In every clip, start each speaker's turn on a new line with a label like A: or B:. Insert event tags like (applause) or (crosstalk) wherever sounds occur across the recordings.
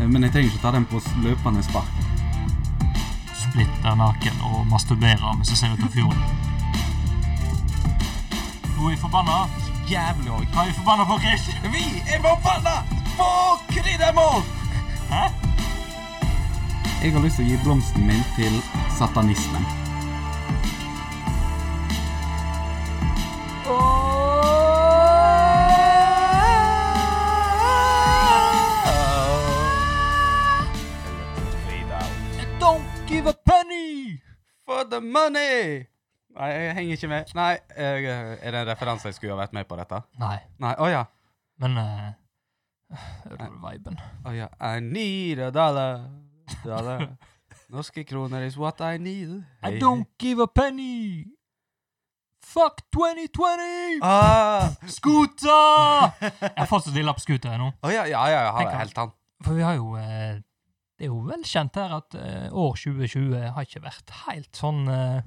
A: Eh, Men jeg trenger ikke ta den på s- løpende spark.
B: Splitt er naken og masturberer mens jeg ser ut av fjorden. Nå er jeg forbanna.
C: Jævlig òg.
B: Hva er jeg forbanna på, Chris?
C: Vi er forbanna på kryddermål!
B: Hæ?
A: Jeg har lyst til å gi blomsten min til satanismen.
C: Don't give a penny for the money! Nei, jeg henger ikke med. Nei, jeg, er det en referanse jeg skulle ha vært med på dette?
B: Nei,
C: Nei, å ja.
B: men eh, Hører du viben?
C: Å ja. I need a dollar. Dollar. Norske kroner is what I need.
B: I don't give a penny! Fuck 2020!
C: Ah,
B: Scooter! Jeg har fortsatt lilla på scooter nå.
C: Å ja, ja, ja, ja, har
B: Tenk
C: jeg
B: han.
C: helt han.
B: For vi har jo eh, Det er jo vel kjent her at eh, år 2020 har ikke vært helt sånn eh,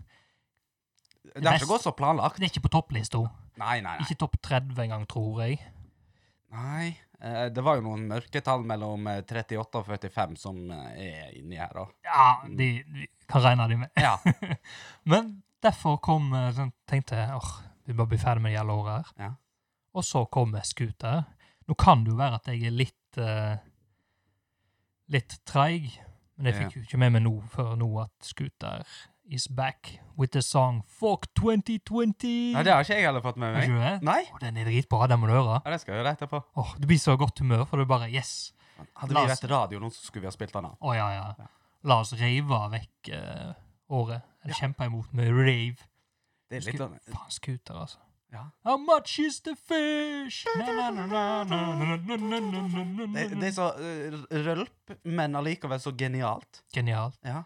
C: Det har
B: Best.
C: ikke gått så planlagt.
B: Det er ikke på topplista.
C: Nei, nei, nei.
B: Ikke topp 30 engang, tror jeg.
C: nei. eh, Det var jo noen mørketall mellom eh, 38 og 45 som eh, er inni her, da.
B: Ja, de, de kan regne de med. (laughs)
C: Ja.
B: Mm. Men derfor kom eh, sånn, tenkte jeg åh, vi må bli ferdig med det hele året her.
C: Ja.
B: Og så kom jeg scooter. Nå kan det jo være at jeg er litt eh, litt treig, men jeg
C: Ja.
B: fikk jo ikke med meg nå før nå at scooter is back with the song Fuck 2020.
C: Nei, det har ikke jeg heller fått med
B: Har
C: meg.
B: ikke du det?
C: Nei?
B: Åh, den er dritbra, den må du høre.
C: Ja, det skal jeg høre etterpå.
B: Åh, du blir så godt humør, for du bare Yes!
C: Hadde
B: La
C: vi
B: oss-
C: vært radio nå, så skulle vi ha spilt den av.
B: Å ja, ja. La oss rave vekk eh, året. Eller kjempe imot med rave.
C: Det er litt sånn
B: Faen, scooter, altså.
C: Ja.
B: How much is the fish? Na, na, na, na, na, na, na, na, na, na, na,
C: Det, det
B: na.
C: er så eh, rølp, men allikevel så genialt.
B: Genialt.
C: Ja.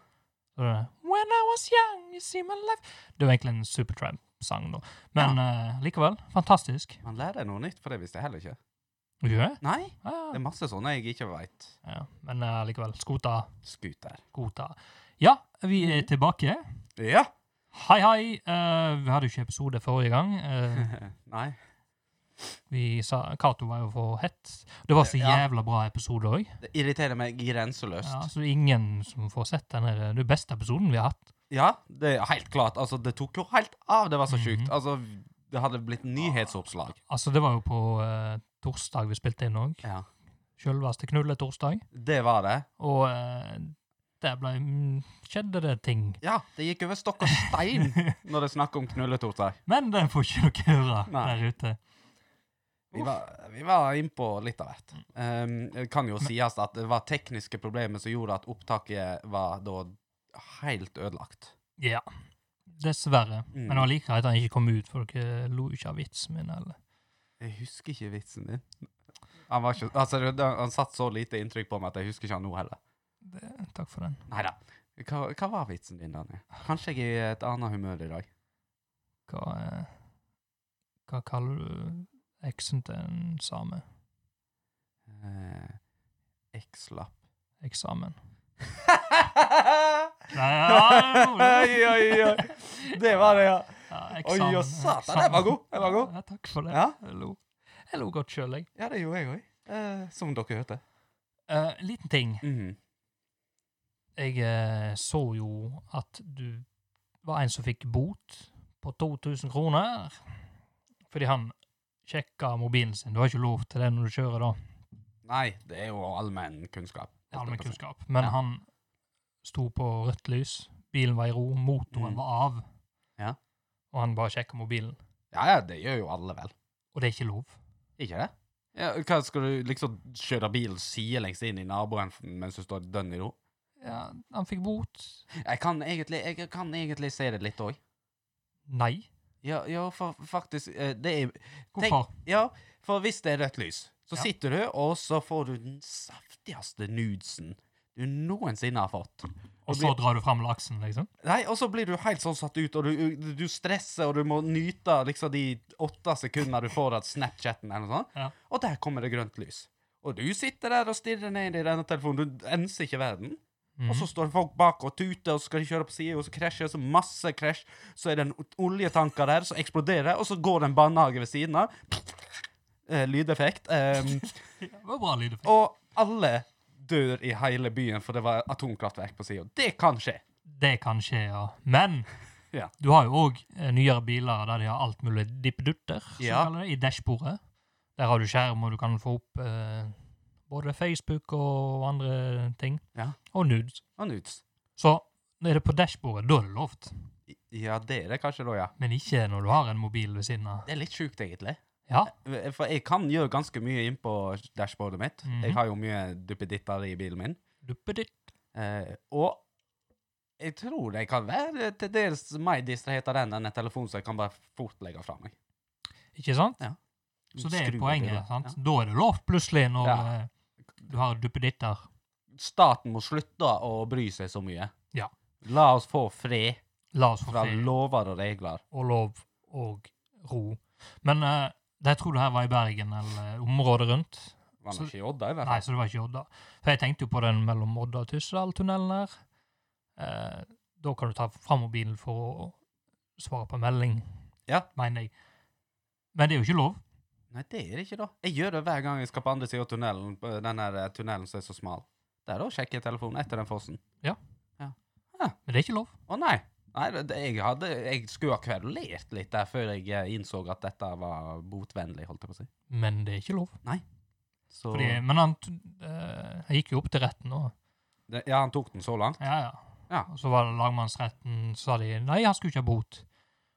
B: Så det er, When I was young, you see my life Det er jo egentlig en Supertramp-sang, da. Men eh, likevel, fantastisk.
C: Man lærer noe nytt, for det visste jeg heller ikke.
B: Gjør det?
C: Nei,
B: Ja,
C: det er masse sånne jeg ikke veit.
B: ja. ja. Men eh, likevel, skota,
C: Scooter.
B: skota. Ja, vi
C: Mm.
B: er tilbake.
C: Ja!
B: Hei, hei. Eh, vi hadde jo ikke episode forrige gang.
C: Hm.
B: Eh,
C: (laughs) Nei.
B: Vi sa Cato var jo for hett. Det var så
C: Ja.
B: jævla bra episode òg.
C: Det irriterer meg grenseløst.
B: Ja, så ingen som får sett den her, eh, det er beste episoden vi har hatt.
C: Ja, det er helt klart. Altså, det tok jo helt av. Det var så
B: Mhm.
C: sjukt. Altså, det hadde blitt nyhetsoppslag.
B: Altså, det var jo på eh, torsdag vi spilte inn òg.
C: Ja.
B: Sjølveste knulletorsdag.
C: Det var det.
B: Og eh, der ble mm, skjedde det ting.
C: Ja, det gikk over stokk og stein (laughs) når det er snakk om knulletorter.
B: (laughs) Men den får ikke dere høre
C: Nei.
B: der ute.
C: Vi var, vi var innpå litt av hvert. Um, det kan jo sies at det var tekniske problemer som gjorde at opptaket var da helt ødelagt.
B: Ja. Dessverre.
C: Mm.
B: Men det var like greit at den ikke kom ut, for dere lo jo ikke av vitsen min. eller?
C: Jeg husker ikke vitsen din. Han, var ikke, altså, det- han satt så lite inntrykk på meg at jeg husker ikke han nå heller.
B: Takk for den.
C: Nei da. Hva, hva var vitsen din, Daniel? Kanskje jeg er i et annet humør i dag.
B: Hva, eh, hva kaller du eksen til en same?
C: Eh, (laughs) X-lapp.
B: Eksamen.
C: Oi, oi, oi. Det var det, ja.
B: Ja,
C: Oi,
B: eksamen,
C: og satan,
B: eksamen.
C: den var god, den var god.
B: Ja, takk for det.
C: Ja.
B: Jeg lo, jeg lo godt sjøl, jeg.
C: Ja, det gjorde jeg òg. Eh, som dere hørte.
B: Eh, liten ting.
C: Mhm.
B: Jeg eh, så jo at du var en som fikk bot på 2000 kroner fordi han sjekka mobilen sin. Du har ikke lov til det når du kjører, da.
C: Nei, det er jo allmenn kunnskap.
B: Det er allmenn kunnskap. Men
C: Ja.
B: han sto på rødt lys, bilen var i ro, motoren
C: Mm.
B: var av,
C: Ja.
B: og han bare sjekka mobilen.
C: Ja, ja, det gjør jo alle vel.
B: Og det er ikke lov.
C: Ikke det? Ja, hva Skal du liksom kjøre bilen sidelengs inn i naboen f- mens du står dønn i ro?
B: Ja, han fikk bot.
C: Jeg kan egentlig, jeg kan egentlig se det litt òg.
B: Nei.
C: Ja, ja, for faktisk eh, Det er Tenk-
B: Hvorfor?
C: Ja, for hvis det er rødt lys, så
B: Ja.
C: sitter du, og så får du den saftigste nudesen du noensinne har fått.
B: Og så drar du fram laksen, liksom?
C: Nei, og så blir du helt sånn satt ut, og du, du stresser, og du må nyte liksom de åtte sekundene du får av Snapchatten, eller noe sånt.
B: Ja.
C: Og der kommer det grønt lys. Og du sitter der og stirrer ned i denne telefonen, du enser ikke verden. Og
B: Mm.
C: så står det folk bak og tuter, og så skal de kjøre på siden, og så krasjer det, så masse krasj. Så er det en o- oljetanker der som eksploderer, og så går det en barnehage ved siden av. Eh, lydeffekt. Eh,
B: Det var bra lydeffekt.
C: og alle dør i hele byen, for det var atomkraftverk på sida. Det kan skje.
B: Det kan skje, ja. Men
C: (laughs) Ja.
B: du har jo òg nyere biler der de har alt mulig dippedutter, som
C: Ja.
B: kaller det, i dashbordet. Der har du skjerm, og du kan få opp eh, både Facebook og andre ting.
C: Ja.
B: Og nudes.
C: Og nudes.
B: Så er det på dashbordet, da er det lovt.
C: I- Ja, det er det kanskje da, ja.
B: Men ikke når du har en mobil ved siden av.
C: Det er litt sjukt, egentlig.
B: Ja.
C: Eh, For jeg kan gjøre ganske mye inn på dashbordet mitt.
B: Mhm.
C: Jeg har jo mye duppeditter i bilen min.
B: Duppeditt.
C: Eh, og jeg tror jeg kan være til dels mer distrahert av den enn en telefon som jeg kan bare fort legge fra meg.
B: Ikke sant?
C: Ja.
B: Så det
C: Skru
B: er
C: på
B: poenget.
C: det,
B: sant?
C: ja.
B: Da er det lovt plutselig når
C: Ja.
B: eh, du har duppeditter.
C: Staten må slutte å bry seg så mye.
B: Ja.
C: La oss få fred
B: La oss få
C: fra
B: fred
C: lover og regler.
B: og lov og ro. Men eh, det- jeg tror det her var i Bergen eller området rundt.
C: Var
B: Så-
C: det ikke i Odda, i
B: Nei,
C: hvert fall?
B: så det var ikke i Odda. For jeg tenkte jo på den mellom Odda og Tyssedal-tunnelen der. Eh, da kan du ta fram mobilen for å svare på en melding,
C: Ja.
B: mener jeg. Men det er jo ikke lov.
C: Nei, det er det ikke, da. Jeg gjør det hver gang jeg skal på andre sida av tunnelen, på den her eh, tunnelen som er så smal. Der òg sjekker jeg telefonen etter den fossen.
B: Men det er ikke lov.
C: Å nei. Nei, det- det- jeg, hadde, jeg skulle ha kverulert litt der før jeg eh, innså at dette var botvennlig, holdt jeg på å si.
B: Men det er ikke lov.
C: Så
B: Fordi, men han t- eh, jeg gikk jo opp til retten nå.
C: det, Ja, han tok den så langt.
B: Ja, ja.
C: Ja.
B: Og så var det lagmannsretten, sa de nei, han skulle ikke ha bot.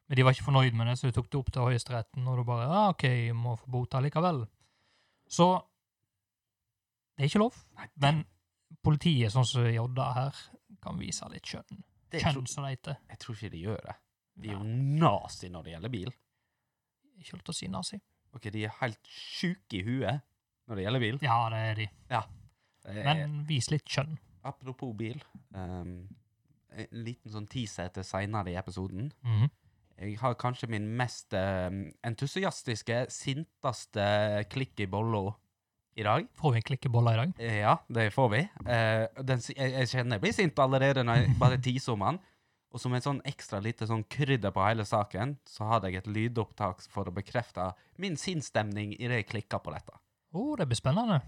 B: Men de var ikke fornøyd med det, så de tok det opp til høyesteretten, og da bare ja, OK, jeg må få bot allikevel. Så det er ikke lov.
C: Nei, det-
B: Men politiet, sånn som i Odda her, kan vise litt skjønn.
C: Det
B: Kjønn,
C: tror-
B: som det heter.
C: Jeg tror ikke de gjør det. De er
B: Ja,
C: jo nazi når det gjelder bil.
B: Ikke lov til å si nazi.
C: Ok, De er helt sjuke i huet når det gjelder bil.
B: Ja, det er de.
C: Eh,
B: Men vis litt skjønn.
C: Apropos bil. ehm, en liten sånn teaser til seinere i episoden.
B: Mhm.
C: Jeg har kanskje min mest ehm, entusiastiske, sinteste klikk i bolla i dag.
B: Får vi en klikkebolle i dag?
C: Eh, Ja, det får vi. Eh, den, si- jeg, jeg kjenner jeg blir sint allerede når jeg bare teaser om den. Og som et sånn ekstra lite sånn krydder på hele saken, så hadde jeg et lydopptak for å bekrefte min sinnsstemning idet jeg klikka på dette.
B: Å, det blir spennende.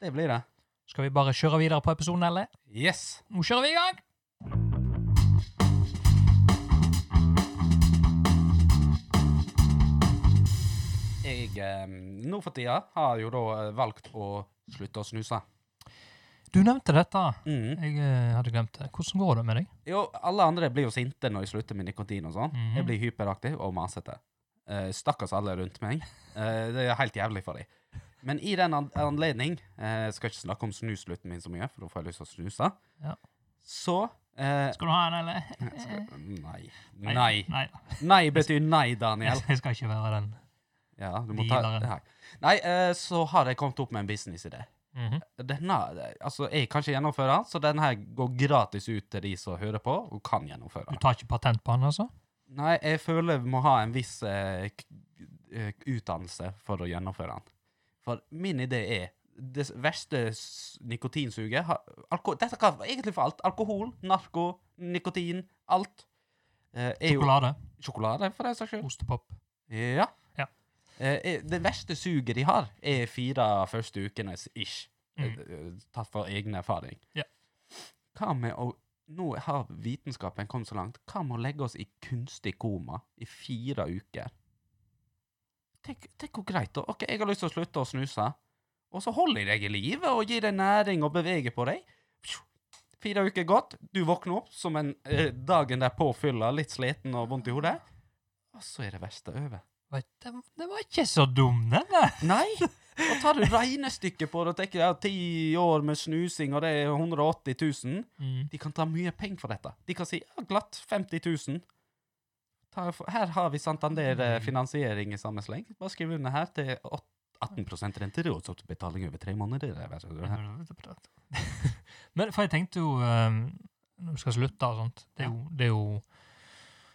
C: Det blir det.
B: Skal vi bare kjøre videre på episoden, eller?
C: Yes!
B: Nå kjører vi i gang!
C: Jeg eh, nå for tida har jo da eh, valgt å slutte å snuse.
B: Du nevnte dette.
C: Mm.
B: Jeg eh, hadde glemt det. Hvordan går det med deg?
C: Jo, alle andre blir jo sinte når jeg slutter med nikotin og sånn.
B: Mhm.
C: Jeg blir hyperaktiv og masete. Eh, stakkars alle rundt meg. Eh, det er helt jævlig for dem. Men i den an anledning eh, Skal ikke snakke om snuslutten min så mye, for da får jeg lyst til å snuse.
B: Ja.
C: Så eh,
B: Skal du ha en, eller?
C: skal, Nei. Nei.
B: Nei,
C: Nei betyr nei,
B: (laughs)
C: Daniel.
B: jeg skal ikke være den.
C: Ja, du må ta
B: Dealeren.
C: Nei, nei eh, så har jeg kommet opp med en businessidé.
B: Mhm.
C: Denne, altså, jeg kan ikke gjennomføre den, så denne her går gratis ut til de som hører på, og kan gjennomføre den.
B: Du tar ikke patent på den, altså?
C: Nei, jeg føler vi må ha en viss eh, k- eh, utdannelse for å gjennomføre den. For min idé er det verste s- nikotinsuget har, alko, Dette kan egentlig for alt. Alkohol, narko, nikotin, alt. Eh, er jo
B: Sjokolade?
C: Sjokolade, for den saks skyld.
B: Ostepop?
C: Ja.
B: Ja.
C: Eh, er- det verste suget de har, er fire første ukene ish.
B: Mm.
C: Eh, eh, Tatt fra egen erfaring.
B: Ja.
C: Hva med å Nå har vitenskapen kommet så langt. Hva med å legge oss i kunstig koma i fire uker? Tenk, tenk hvor greit, da. Ok, jeg har lyst til å slutte å snuse. Og så holder jeg deg i live og gir deg næring og beveger på deg. Psjo. Fire uker gått, du våkner opp som en eh, dagen derpå fyller, litt sliten og vondt i hodet. Og så er det verste over.
B: Vet, det, det var ikke så dum, den der.
C: Nei! Og tar du regnestykket på det og tenker ja, ti år med snusing, og det er 180 000 De kan ta mye penger for dette. De kan si ja, glatt 50 000. Ta, her har vi Santander eh, finansiering i samme sleng. Bare skriv under her til åt- 18 renterådsbetaling over tre måneder. det er verre, det her.
B: (laughs) Men for jeg tenkte jo eh, Når du skal slutte og sånt Det er jo, det er jo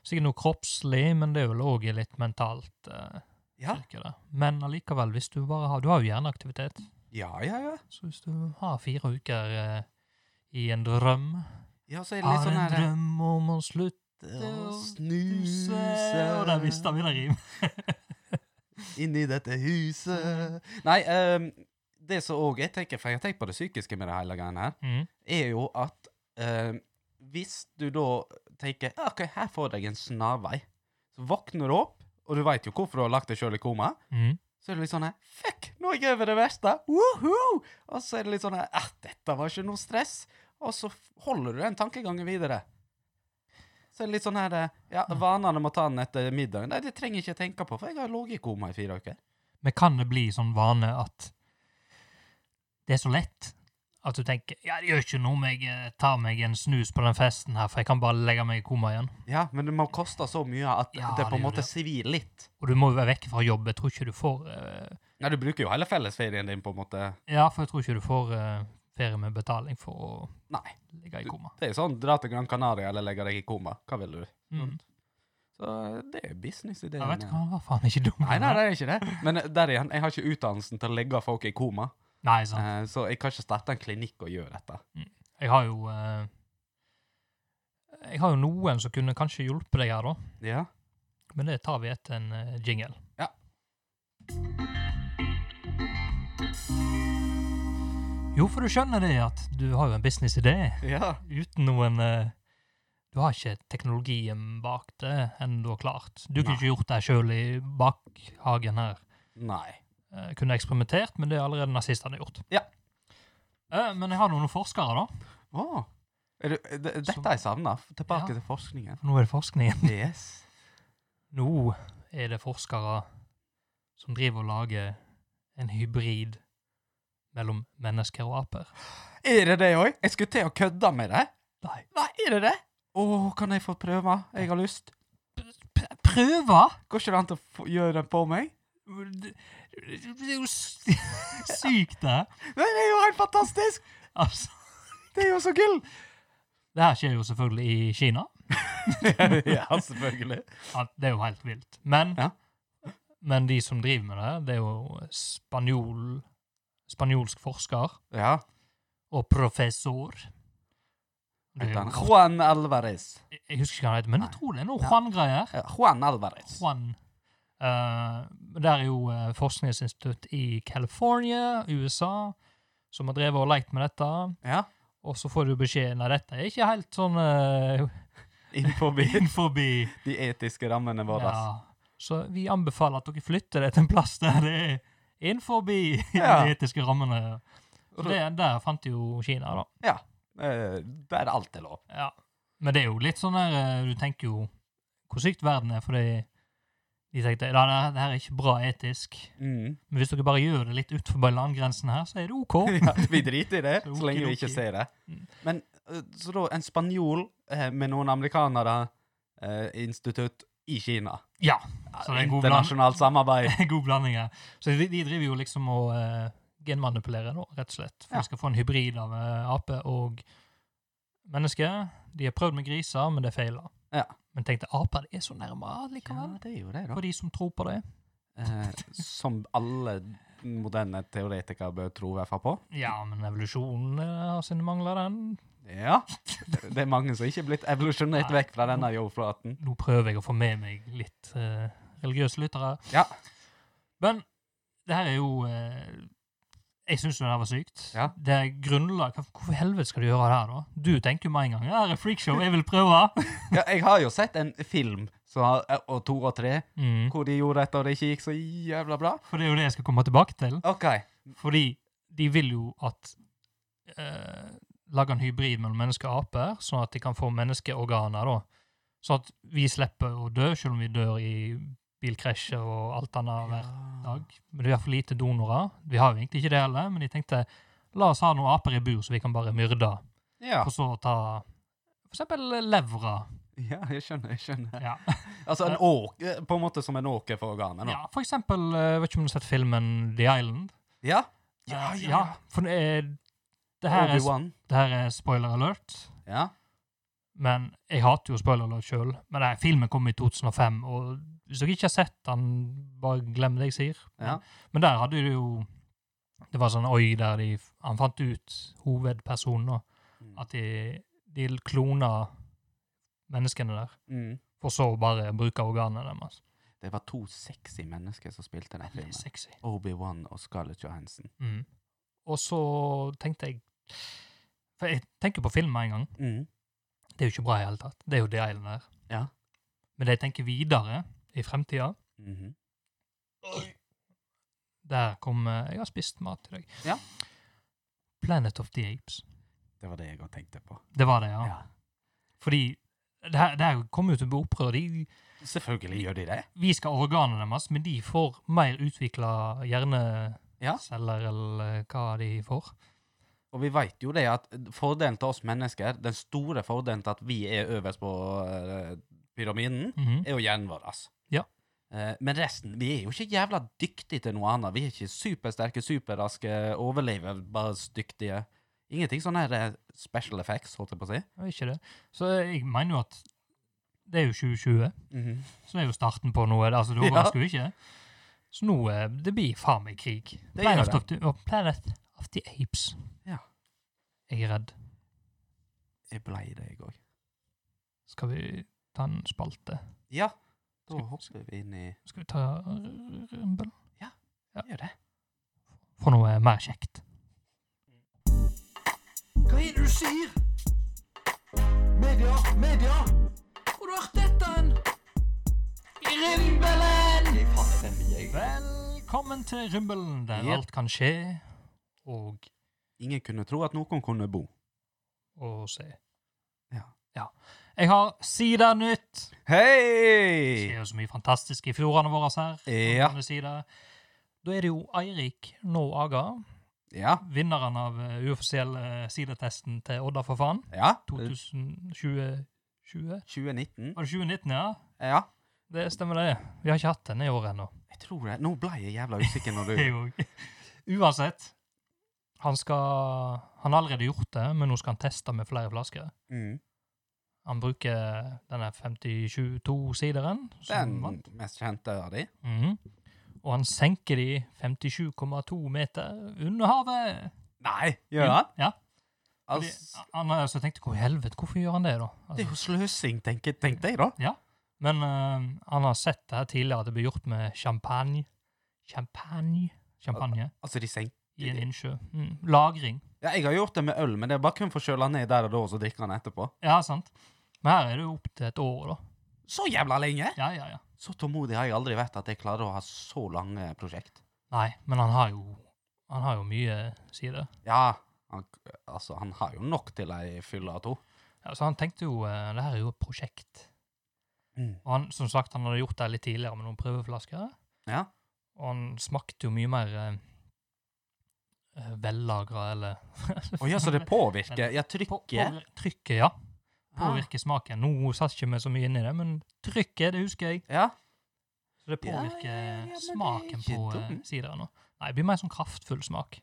B: sikkert noe kroppslig, men det er vel òg litt mentalt. eh,
C: Ja,
B: cirka det. Men allikevel, hvis du bare har Du har jo hjerneaktivitet.
C: ja, ja. ja.
B: Så hvis du har fire uker eh, i en drøm
C: ja så er det
B: Har
C: litt sånn
B: en
C: her eh,
B: drøm om å slutte
C: å
B: snuse Og der mista
C: (laughs)
B: vi det rimet.
C: inni dette huset. Nei, ehm, Det som òg jeg tenker, for jeg har tenkt på det psykiske med det hele greia her,
B: Mm.
C: er jo at eh, hvis du da tenker «Ja, OK, her får jeg en snarvei, så våkner du opp, og du veit jo hvorfor du har lagt deg sjøl i koma,
B: Mm.
C: så er det litt sånn her Fuck, nå er jeg over det verste! Woohoo! Og så er det litt sånn her «Ah, dette var ikke noe stress. Og så f- holder du den tankegangen videre. Så er det litt sånn her eh, Ja, vanene må ta den etter middagen. Nei, det trenger jeg ikke tenke på, for jeg har ligget i koma i fire uker.
B: Men kan det bli sånn vane at det er så lett at du tenker ja, det gjør ikke noe om jeg eh, tar meg en snus på den festen her, for jeg kan bare legge meg i koma igjen.
C: Ja, men det må koste så mye at
B: Ja,
C: det på
B: det
C: en
B: gjør
C: måte
B: det.
C: svir litt.
B: Og du må jo være vekke fra jobb. Jeg tror ikke du får eh,
C: Ja, du bruker jo hele fellesferien din på en måte
B: Ja, for jeg tror ikke du får eh, ferie med betaling for å
C: Nei.
B: ligge i koma.
C: Det er jo sånn dra til Gran Canaria eller legge deg i koma. Hva vil du?
B: Mm.
C: Så eh, det er businessideen.
B: Jeg vet
C: igjen.
B: hva, han var faen ikke dum.
C: Nei, nei, det er ikke
B: (laughs)
C: det. Men eh, der igjen, jeg har ikke utdannelsen til å legge folk i koma.
B: Nei, sant.
C: Eh, Så jeg kan ikke starte en klinikk og gjøre dette.
B: Jeg har jo eh, Jeg har jo noen som kunne kanskje hjulpet deg her, da.
C: Ja.
B: Men det tar vi etter en eh, jingle.
C: Ja.
B: Jo, for du skjønner det at du har jo en businessidé
C: ja.
B: uten noen eh, Du har ikke teknologien bak det ennå klart. Du kunne
C: Nei.
B: ikke gjort det sjøl i bakhagen her.
C: Nei.
B: Eh, kunne eksperimentert, men det er allerede nazistene gjort.
C: Ja.
B: Eh, men jeg har noen forskere, da.
C: Å. Er du, eh, d- dette har jeg savna. Tilbake
B: Ja.
C: til forskningen.
B: Nå er det forskning.
C: Yes.
B: Nå er det forskere som driver og lager en hybrid mellom mennesker og aper.
C: Er det det òg? Jeg skulle til å kødde med det.
B: Nei.
C: Nei, er det det? Å, kan jeg få prøve? Jeg har lyst.
B: Prøve?
C: Går ikke det an til å få- gjøre den på meg?
B: Det det er jo s- (laughs) sykt, det.
C: Nei, det er jo helt fantastisk!
B: Altså,
C: Det er jo så
B: (laughs)
C: gull!
B: det her skjer jo selvfølgelig i Kina.
C: ja, selvfølgelig.
B: Ja, Det er jo helt vilt. Men,
C: Ja.
B: men de som driver med det, det er jo spanjol, spanjolsk forsker
C: Ja.
B: og professor. Det er jo,
C: Heter han Juan Alvarez.
B: jeg husker ikke hva han heter, men jeg tror det er noe sånn Juan-greier.
C: Ja, Juan Alvarez.
B: Juan. Eh, der er jo eh, forskningsinstitutt i California, USA, som har drevet og lekt med dette.
C: Ja.
B: Og så får du beskjed Nei, dette er ikke helt sånn (laughs) uh,
C: Inn
B: (laughs)
C: forbi
B: innenfor
C: de etiske rammene våre.
B: ja. Så vi anbefaler at dere flytter det til en plass der det er innenfor (laughs)
C: Ja.
B: de etiske rammene. Så det, der fant jo Kina, da.
C: Eh, Der alt er lov.
B: Ja. Men det er jo litt sånn der eh, Du tenker jo hvor sykt verden er, fordi de tenkte ja, det her- det her er ikke bra etisk.
C: Mm.
B: Men hvis dere bare gjør det litt utenfor landegrensen her, så er det
C: (laughs)
B: OK.
C: Ja, vi driter i det,
B: Så
C: så lenge vi ikke
B: okidoki.
C: ser det.
B: Mm.
C: Men eh, så da en spanjol eh, med noen amerikanere eh, institutt i Kina.
B: Ja, (laughs) så det er en god blanding.
C: Internasjonalt
B: (laughs)
C: samarbeid.
B: God blanding her. Så de, de driver jo liksom og eh, genmanipulerer, da, rett og slett. For
C: Ja.
B: de skal få en hybrid av eh, ape og menneske. De har prøvd med griser, men det feiler.
C: Ja.
B: Men tenkte aper de er så nærme likevel.
C: det er jo det,
B: For de som tror på det.
C: Eh, som alle moderne teoretikere bør tro i hvert fall på.
B: Ja, men evolusjonen eh, har sine mangler, den.
C: Ja. Det er mange som ikke er blitt evolusjonert
B: Nei.
C: vekk fra denne jordflaten.
B: Nå prøver jeg å få med meg litt eh, religiøse lyttere.
C: Ja.
B: Men det her er jo eh, Jeg syns jo det her var sykt.
C: Ja.
B: Det er grunnlag Hva- Hvorfor i helvete skal du gjøre det her, da? Du tenker jo med en gang ja, det er freakshow, jeg vil
C: (laughs)
B: prøve.
C: ja. Jeg har jo sett en film som har, eh, og to og tre
B: Mm.
C: hvor de gjorde dette, og det ikke gikk så jævla bra.
B: For det er jo det jeg skal komme tilbake til.
C: OK.
B: Fordi de vil jo at eh, Lage en hybrid mellom mennesker og aper, sånn at de kan få menneskeorganer, da. Sånn at vi slipper å dø, selv om vi dør i bilkrasjer og alt annet hver dag. Men det er for lite donorer. Vi har jo egentlig ikke det heller, men de tenkte la oss ha noen aper i bur, så vi kan bare myrde.
C: Ja.
B: Og så ta for eksempel levra.
C: ja, jeg skjønner. jeg skjønner.
B: Ja.
C: (laughs) Altså en åker, på en måte som en åker for organet. nå.
B: ja, for eksempel, eh, vet ikke om du har sett filmen The Island?
C: Ja?
B: Eh, for det, er, det, her er,
C: Obi-Wan.
B: det her er spoiler alert,
C: Ja.
B: men jeg hater jo spoiler alert sjøl. Men nei, filmen kom i 2005, og hvis dere ikke har sett den, bare glem det jeg sier.
C: Ja.
B: Men der hadde du jo Det var sånn oi der de Han fant ut, hovedpersonen, da, at de, de klona menneskene der.
C: Mm.
B: For så å bare bruke organene deres.
C: Det var to sexy mennesker som spilte den
B: Det er
C: filmen.
B: sexy.
C: Obi-Wan og Scarlett Johansen.
B: Mm. Og så tenkte jeg For jeg tenker på film med en gang.
C: Mm.
B: Det er jo ikke bra i det hele tatt. Det er jo The Island her.
C: Ja.
B: Men det jeg tenker videre i fremtida
C: Mhm.
B: Der kommer Jeg har spist mat i dag.
C: Ja.
B: Planet of the Apes.
C: Det var det jeg òg tenkte på.
B: Det var det, ja.
C: Ja.
B: Fordi det her, det her kommer jo til å bli opprør. De,
C: Selvfølgelig gjør de det.
B: vi skal ha organene deres, men de får mer utvikla
C: Ja.
B: hjerneceller, eller eh, hva de får.
C: Og vi veit jo det at fordelen til oss mennesker, den store fordelen til at vi er øverst på eh, pyramiden,
B: Mhm.
C: er jo hjernen vår. ass.
B: Ja.
C: Eh, Men resten Vi er jo ikke jævla dyktige til noe annet. Vi er ikke supersterke, superraske, overlevelsesdyktige. Ingenting sånn her eh, special effects, holdt jeg på å si.
B: Det er ikke det. Så jeg mener jo at det er jo 2020, så det er jo starten på noe. Altså, det
C: Ja.
B: overrasker jo ikke. Så nå eh, det blir faen meg krig.
C: Det
B: Planet,
C: gjør
B: Of the, og Planet of the Apes.
C: Ja.
B: Jeg er redd.
C: Jeg blei det, jeg òg.
B: Skal vi ta en spalte?
C: Ja. Da
B: Skal-
C: hopper vi inn i
B: Skal vi ta Rumble?
C: Gjør det.
B: Få noe mer kjekt.
D: Hva er det du sier? Media, media! Hvor har du hørt dette hen? I rimbelen!
B: Velkommen til Rumbelen, der
C: Yep.
B: alt kan skje og,
C: Ingen kunne tro at noen kunne bo.
B: og se.
C: Ja.
B: Jeg har Sida nytt. Det
C: Hei!
B: skjer jo så mye fantastisk i fjordene våre her. på
C: Eh. Ja.
B: denne sida. Da er det jo Eirik nå Aga,
C: Ja.
B: vinneren av eh, uoffisiell eh, sidatesten til Odda for faen.
C: Ja.
B: 2020 Var
C: 2019.
B: det 2019, ja?
C: Ja.
B: Det stemmer det. Vi har ikke hatt den i år ennå.
C: Jeg tror det. Nå ble (laughs) jeg jævla
B: (laughs)
C: usikker når du
B: Jeg òg. Uansett. Han skal Han har allerede gjort det, men nå skal han teste med flere flasker.
C: mm.
B: Han bruker denne 52-sideren.
C: Den
B: som vant.
C: mest kjente av de.
B: Mhm. Og han senker de 57,2 meter under havet.
C: Nei, gjør han?
B: Ja. Fordi,
C: Altså,
B: han har altså tenkt hvor i helvete, hvorfor gjør han det, da? Altså,
C: det er jo sløsing, tenkte tenk jeg da.
B: men eh, han har sett det her tidligere, at det blir gjort med champagne. Champagne? Champagne
C: Altså, de senk...
B: i en innsjø. Mm. Lagring.
C: Ja, jeg har gjort det med øl, men det er bare kun for å kjøle han ned der og da, og så drikke han etterpå.
B: Ja, sant. Men her er det jo opp til et år, da.
C: Så jævla lenge!
B: Ja, ja, ja.
C: Så tålmodig har jeg aldri vært at jeg klarer å ha så lange prosjekt.
B: Nei, men han har jo Han har jo mye sider.
C: Ja, han, altså, han har jo nok til ei fylle av to.
B: Ja, så han tenkte jo eh, det her er jo et prosjekt. Og han, som sagt, han hadde gjort det litt tidligere med noen prøveflasker.
C: Ja.
B: Og han smakte jo mye mer eh, eh, vellagra, eller
C: Å ja, så det påvirker. Ja, trykket.
B: På- påvir- Trykket, ja.
C: Ah.
B: Påvirker smaken. Nå satt ikke vi så mye inn i det, men trykket, det husker jeg.
C: Ja.
B: Så det
C: Ja, ja, ja,
B: påvirker
C: ja, men det er
B: smaken
C: ikke
B: på eh,
C: dumt.
B: sideren nå. Nei, det blir mer sånn kraftfull smak.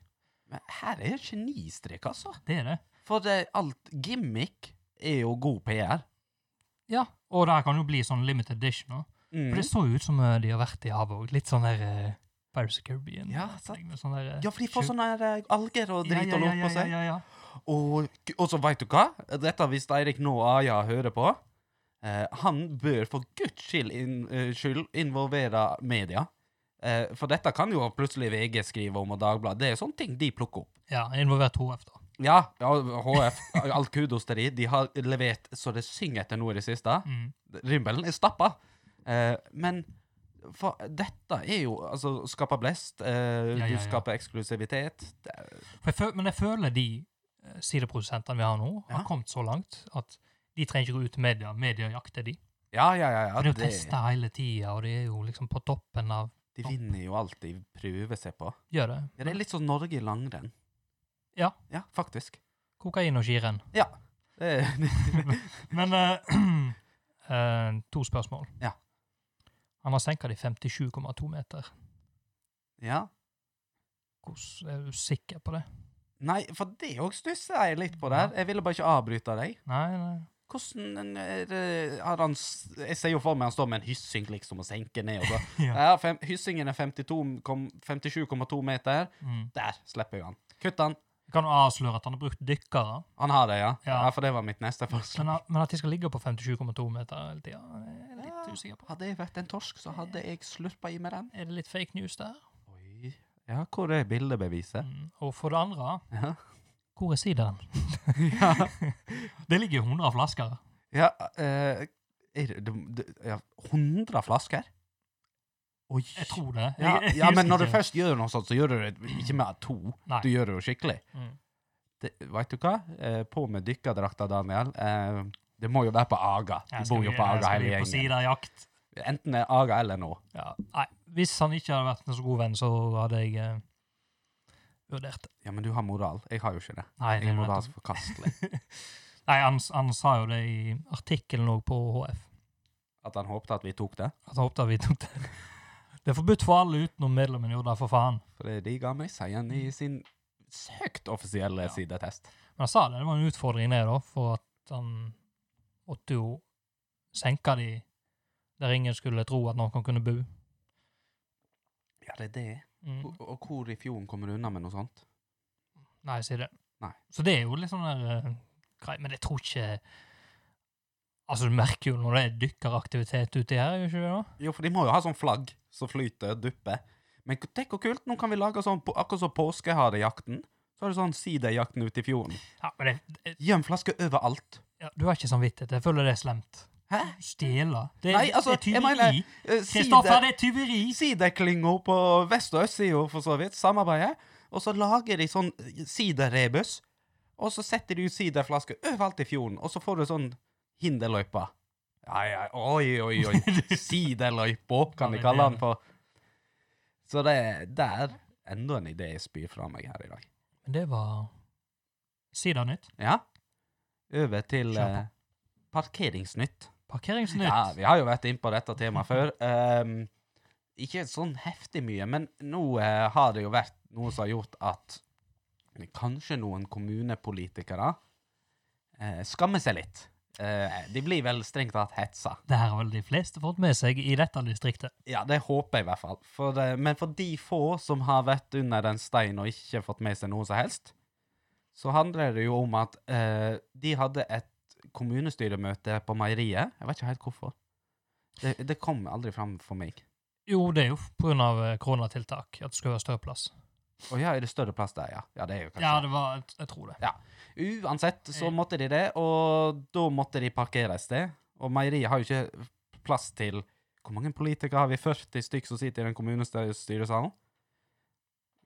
C: Men her er genistrek, altså.
B: Det er det.
C: For det, alt gimmick er jo god PR.
B: Ja, og det her kan jo bli sånn limited edition nå.
C: Mm.
B: For det så jo ut som eh, de har vært i havet òg. Litt sånn der eh, Pirates of the Caribbean.
C: Ja,
B: eh,
C: sant.
B: med Sånn der, eh,
C: Ja, for de får
B: sjuk-
C: sånne eh, alger og drit og lort på seg.
B: Ja, ja, ja.
C: Og, og så veit du hva? Dette hvis Eirik nå Aja hører på. Eh, han bør for guds skyld, inn- eh, skyld involvere media. Eh, for dette kan jo plutselig VG skrive om og Dagbladet. Det er sånne ting de plukker opp.
B: ja, involvert HF, da.
C: Ja, ja HF, (laughs) all kudos til de. De har levert så det synger etter nå i det siste.
B: Mm.
C: Rimbelen er stappa. Eh, men for dette er jo Altså, skape blest. Eh,
B: Ja, ja,
C: Du
B: ja.
C: skaper eksklusivitet. Det er-
B: For jeg føl, men jeg føler de eh, sideprodusentene vi har nå,
C: Ja.
B: har kommet så langt at de trenger ikke gå ut til media. Media jakter de.
C: Ja, ja, ja. ja
B: For de er jo
C: det-
B: testa hele tida, og de er jo liksom på toppen av
C: De vinner jo alt de prøver seg på.
B: Gjør det.
C: Ja, det er litt sånn Norge i langrenn.
B: Ja.
C: Ja, faktisk.
B: Kokain og skirenn.
C: Det er, (laughs)
B: Men eh, (clears throat) eh, to spørsmål.
C: Ja.
B: Han har senka de 57,2 meter.
C: ja.
B: Hvordan er du sikker på det?
C: Nei, for det òg stusser jeg litt på der. Jeg ville bare ikke avbryte deg.
B: Nei, nei.
C: Hvordan er det- har han s- Jeg ser jo for meg han står med en hyssing liksom og senker ned. Og så.
B: Ja.
C: (laughs) Ja, fem, hyssingen er 52 kom- 57,2 meter.
B: Mm.
C: Der slipper jeg han. Kutt han.
B: Jeg kan jo avsløre at han har brukt dykkere.
C: Han har det, ja.
B: Ja.
C: ja. for det var mitt neste forslag.
B: Men, men at de skal ligge på 57,2 meter hele tida, er jeg litt usikker på.
C: Hadde jeg vært en torsk, så hadde jeg slurpa i meg den.
B: Er det litt fake news der?
C: Oi, Ja, hvor er bildebeviset?
B: Mm. Og for det andre,
C: Ja.
B: hvor er sideren?
C: (laughs) ja.
B: Det ligger jo 100 flasker.
C: Ja, eh, er det, det- det, ja 100 flasker? Oi.
B: Jeg tror det. Jeg,
C: Ja,
B: jeg
C: ja, men
B: husker
C: når du
B: ikke.
C: først gjør noe sånt, så gjør du det ikke med to.
B: Nei.
C: Du gjør det jo skikkelig.
B: Mm.
C: Det, vet du hva? Eh, på med dykkerdrakta, Daniel. Eh, det må jo være på Aga.
B: Her
C: Du
B: skal
C: bor jo
B: vi-
C: på
B: her
C: Aga
B: skal vi
C: hele
B: på
C: gjengen.
B: siderjakt.
C: Enten det er Aga eller nå.
B: Ja. Nei, hvis han ikke hadde vært en så god venn, så hadde jeg eh, vurdert det.
C: Ja, men du har moral. Jeg har jo ikke det.
B: Nei, det
C: Jeg
B: er
C: er
B: jo
C: moralsk
B: nettopp-
C: forkastelig.
B: (laughs) Nei, han, s- han sa jo det i artikkelen òg på HF,
C: At han håpte at vi tok det.
B: at han håpte at vi tok det. (laughs) Det er forbudt for alle utenom medlemmene, jo da, for faen.
C: For det digga meg, sier han i sin søkt offisielle
B: Ja.
C: sidetest.
B: Men han sa det, det var en utfordring det, da, for at han måtte jo senke de der ingen skulle tro at noen kunne bo.
C: Ja, det er det.
B: Mm.
C: Og, og hvor i fjorden kommer du unna med noe sånt?
B: Nei, si det.
C: Nei.
B: Så det er jo litt sånn der eh, grei, men jeg tror ikke Altså, du merker jo når det er dykkeraktivitet uti her, gjør ikke det? da?
C: Jo, for de må jo ha sånn flagg som flyter og dupper. Men k- tenk hvor kult, nå kan vi lage sånn på, akkurat som påskeharejakten. Så har du sånn sidejakten ute i fjorden.
B: Ja, men det, det,
C: Gjem flasker overalt.
B: ja, Du har ikke samvittighet. Jeg føler det er slemt.
C: Hæ?
B: Stjele. Det,
C: Nei,
B: det er
C: altså, jeg
B: tyveri.
C: mener, eh,
B: Kristoffer,
C: side,
B: det er tyveri!
C: sideklinga på vest- og østsida, for så vidt, samarbeidet. Og så lager de sånn eh, siderebus, og så setter de ut siderflasker overalt i fjorden, og så får du sånn hinderløypa. Ja, ja, oi, oi, oi.
B: (laughs)
C: Sideløypa, kan de kalle den for. Så det er der enda en idé jeg spyr fra meg her i dag.
B: Men det var Sidanytt.
C: Ja. Over til
B: Kjør på.
C: eh, Parkeringsnytt.
B: Parkeringsnytt.
C: Ja, vi har jo vært inn på dette temaet før. Ehm, ikke sånn heftig mye, men nå eh, har det jo vært noe som har gjort at kanskje noen kommunepolitikere eh, skammer seg litt. Eh, de blir vel strengt tatt hetsa.
B: Det her har vel de fleste fått med seg i dette distriktet.
C: Ja, det håper jeg i hvert fall. For, eh, men for de få som har vært under en stein og ikke fått med seg noe som helst, så handler det jo om at eh, de hadde et kommunestyremøte på meieriet. Jeg vet ikke helt hvorfor. Det, det kom aldri fram for meg.
B: Jo, det er jo på grunn av eh, koronatiltak at det skal være større plass.
C: Å ja, er det større plass der, ja? Ja, det er jo kanskje
B: Ja, det var Jeg, jeg tror det.
C: Uansett så måtte de det, og da måtte de parkere et sted. Og meieriet har jo ikke plass til Hvor mange politikere har vi? 40 stykk som sitter i den kommunestyresalen?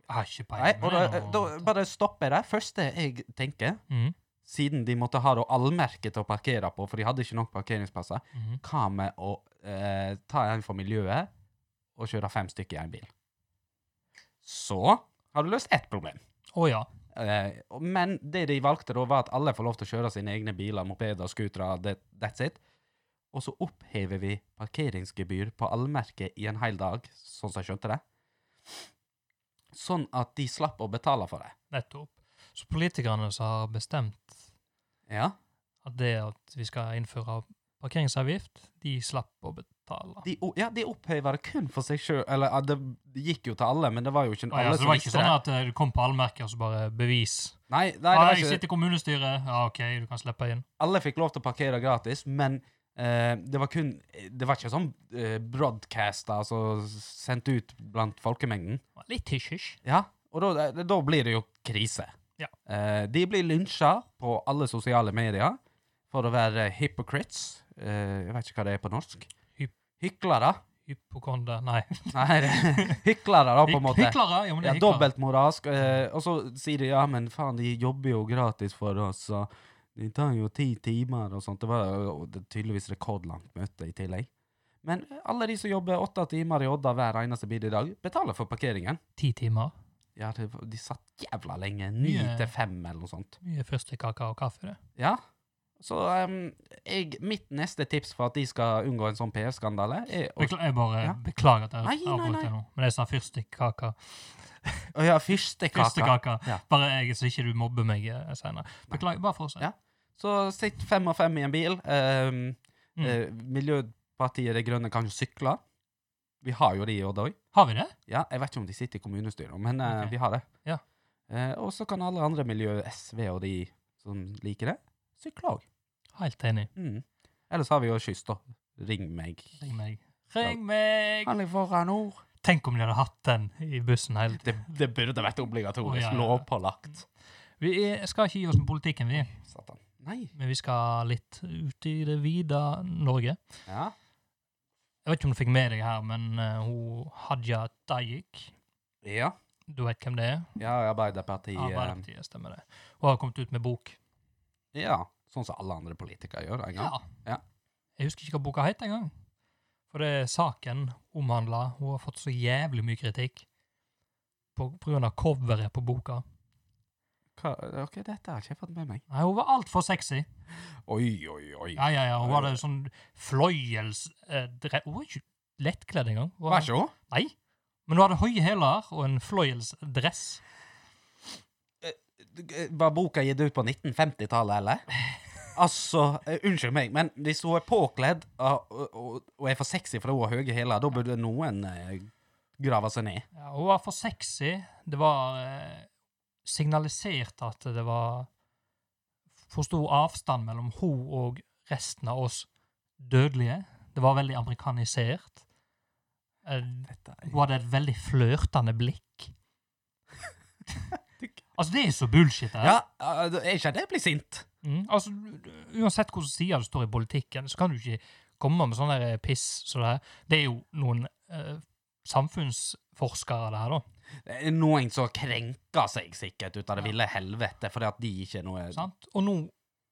B: Jeg har ikke
C: Nei,
B: peiling.
C: og
B: men
C: da,
B: det
C: da
B: var-
C: bare stopper jeg der. Første jeg tenker,
B: Mhm,
C: siden de måtte ha da allmerke til å parkere på, for de hadde ikke nok parkeringsplasser,
B: mhm.
C: hva med å eh, ta en for miljøet og kjøre fem stykker i en bil? Så har du løst ett problem.
B: Å ja.
C: Eh, og- men det de valgte da, var at alle får lov til å kjøre sine egne biler, mopeder, scootere, det- that's it. Og så opphever vi parkeringsgebyr på allmerket i en hel dag, sånn som jeg skjønte det. Sånn at de slapp å betale for det.
B: Nettopp. Så politikerne som har bestemt
C: Ja.
B: at det at vi skal innføre parkeringsavgift, de slapp å betale.
C: De, o- ja, de oppheva det kun for seg sjøl. Eller ja, det gikk jo til alle, men det var jo
B: Å,
C: ikke
B: ja, så
C: alle
B: det
C: som
B: var ikke
C: visste
B: sånn at
C: det.
B: eh, du kom på allmerket og så bare bevis?
C: Nei, nei, det
B: Nei,
C: var
B: jeg
C: ikke
B: sitter i kommunestyret. Ja, OK, du kan slippe inn.
C: alle fikk lov til å parkere gratis, men eh, det var kun Det var ikke sånn eh, broadcasta, altså sendt ut blant folkemengden.
B: Litt hysj-hysj.
C: Ja, og da, da blir det jo krise.
B: Ja.
C: Eh, de blir lynsja på alle sosiale medier for å være hypocrites. Eh, jeg vet ikke hva det er på norsk.
B: Hyp-
C: Hyklere.
B: Hypokonder Nei.
C: Nei, (laughs) det- hyklere, da, på
B: Hyk-
C: en måte.
B: Hyklere! Ja, men det
C: Ja,
B: er hyklere.
C: dobbeltmoralsk. Eh, og så sier de ja, men faen, de jobber jo gratis for oss, og de tar jo ti timer og sånt. Det var jo det er tydeligvis rekordlangt møte i tillegg. Men alle de som jobber åtte timer i Odda hver eneste bil i dag, betaler for parkeringen.
B: Ti timer.
C: Ja, det, var- de satt jævla lenge. Ni
B: Mye-
C: til fem, eller noe sånt.
B: Mye fyrstekkaker og kaffe, det.
C: Ja. Så em, jeg, mitt neste tips for at de skal unngå en sånn PR-skandale, er å
B: Bekla jeg bare
C: Ja.
B: beklager at
C: Nei,
B: jeg
C: nei,
B: avbrøt
C: nei.
B: deg nå, men sånn jeg sa fyrstekkaker.
C: Å ja, fyrstekaker.
B: Fyrstekaker.
C: Ja.
B: Bare jeg, så ikke du mobber meg eh, senere. Beklager. Bare fortsett.
C: Ja. Så sitt fem og fem i en bil. em,
B: Mm.
C: Eh, Miljøpartiet De Grønne kan jo sykle. Vi har jo de i Odda òg.
B: Har vi det?
C: Ja, jeg vet ikke om de sitter i kommunestyret, men eh,
B: Ok.
C: vi har det.
B: Ja.
C: Eh, og så kan alle andre miljø, SV og de som liker det, sykle òg.
B: Helt enig.
C: Mm. Ellers har vi jo kyst, da. Ring meg.
B: Ring meg. Ring meg!
C: Han er foran nord.
B: Tenk om de hadde hatt den i bussen hele tiden.
C: Det, det burde vært obligatorisk.
B: Å, ja, ja.
C: Lovpålagt.
B: Vi er, skal ikke gi oss med politikken, vi.
C: Satan. Nei.
B: Men vi skal litt ut i det vide Norge.
C: Ja.
B: Jeg vet ikke om du fikk med deg her, men eh, hun Hadia Tajik,
C: Ja,
B: du vet hvem det er?
C: ja Arbeiderpartiet eh,
B: Arbeiderpartiet, stemmer det. Hun har kommet ut med bok.
C: Ja. Sånn som alle andre politikere gjør. en gang. Ja.
B: Jeg husker ikke hva boka het engang. For det er saken omhandla. Hun har fått så jævlig mye kritikk på, på grunn av coveret på boka.
C: Hva, ok, Dette har ikke jeg fått med meg.
B: Nei, hun var altfor sexy.
C: Oi, oi, oi.
B: Ja, ja, ja. Hun hadde sånn fløyels... Eh, dre- hun var ikke lettkledd engang. Hun
C: Vær
B: hadde-
C: så god.
B: Nei. Men hun hadde høye hæler og en fløyelsdress.
C: eh, Var boka gitt ut på 1950-tallet, (laughs) eller? Altså, eh, unnskyld meg, men hvis hun er påkledd og, og, og er for sexy fordi hun har høye hæler, da burde noen eh, grave seg ned.
B: Ja, hun var for sexy. Det var eh, signalisert at det var for stor avstand mellom hun og resten av oss dødelige. Det var veldig amerikanisert. Eh, hun hadde et veldig flørtende blikk. altså, det er så bullshit. det her.
C: Ja, eh, da- er ikke det blir sint?
B: Mm, altså, u- uansett hvordan sida du står i politikken, så kan du ikke komme med sånn der piss som det her. Det er jo noen eh, samfunnsforskere, det her, da.
C: Det er Eh, noen som krenker seg sikkert ut av det ville helvete fordi at de ikke er noe
B: Sant? Og nå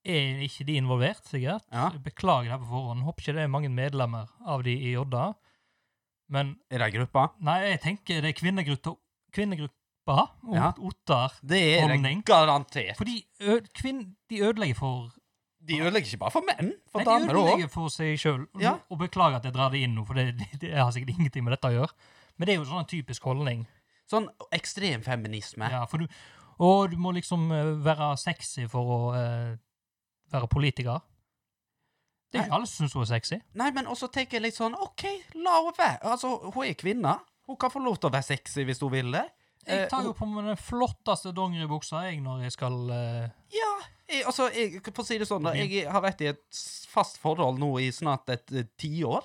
B: er ikke de involvert, sikkert.
C: Ja.
B: Beklager det her på forhånd. Håper ikke det er mange medlemmer av de i Odda. Men
C: Er det ei gruppe?
B: nei, jeg tenker det er kvinnegruppa, kvinnegruppa og
C: Ja.
B: Ottar.
C: Det er det
B: Honning.
C: garantert.
B: For de, ø- kvinn, de ødelegger for
C: De ødelegger ikke bare for menn, for
B: Nei, de
C: damer òg.
B: ødelegger for seg sjøl.
C: Ja.
B: Og beklager at jeg drar det inn nå, for det, (laughs) det, det har sikkert ingenting med dette å gjøre. Men det er jo sånn en typisk holdning.
C: Sånn ekstrem feminisme.
B: Ja, for du, å, du må liksom eh, være sexy for å eh, være politiker. Det er jo ikke alle som syns hun er sexy.
C: Nei, men også tenker jeg litt sånn OK, la henne være. Altså, hun er kvinne. Hun kan få lov til å være sexy hvis hun vil det.
B: Jeg
C: Eh,
B: tar jo
C: hun-
B: på meg den flotteste dongeribuksa jeg når jeg skal eh,
C: Ja, jeg, altså, jeg, for å si det sånn, da. Jeg har vært i et s- fast forhold nå i snart et eh, tiår.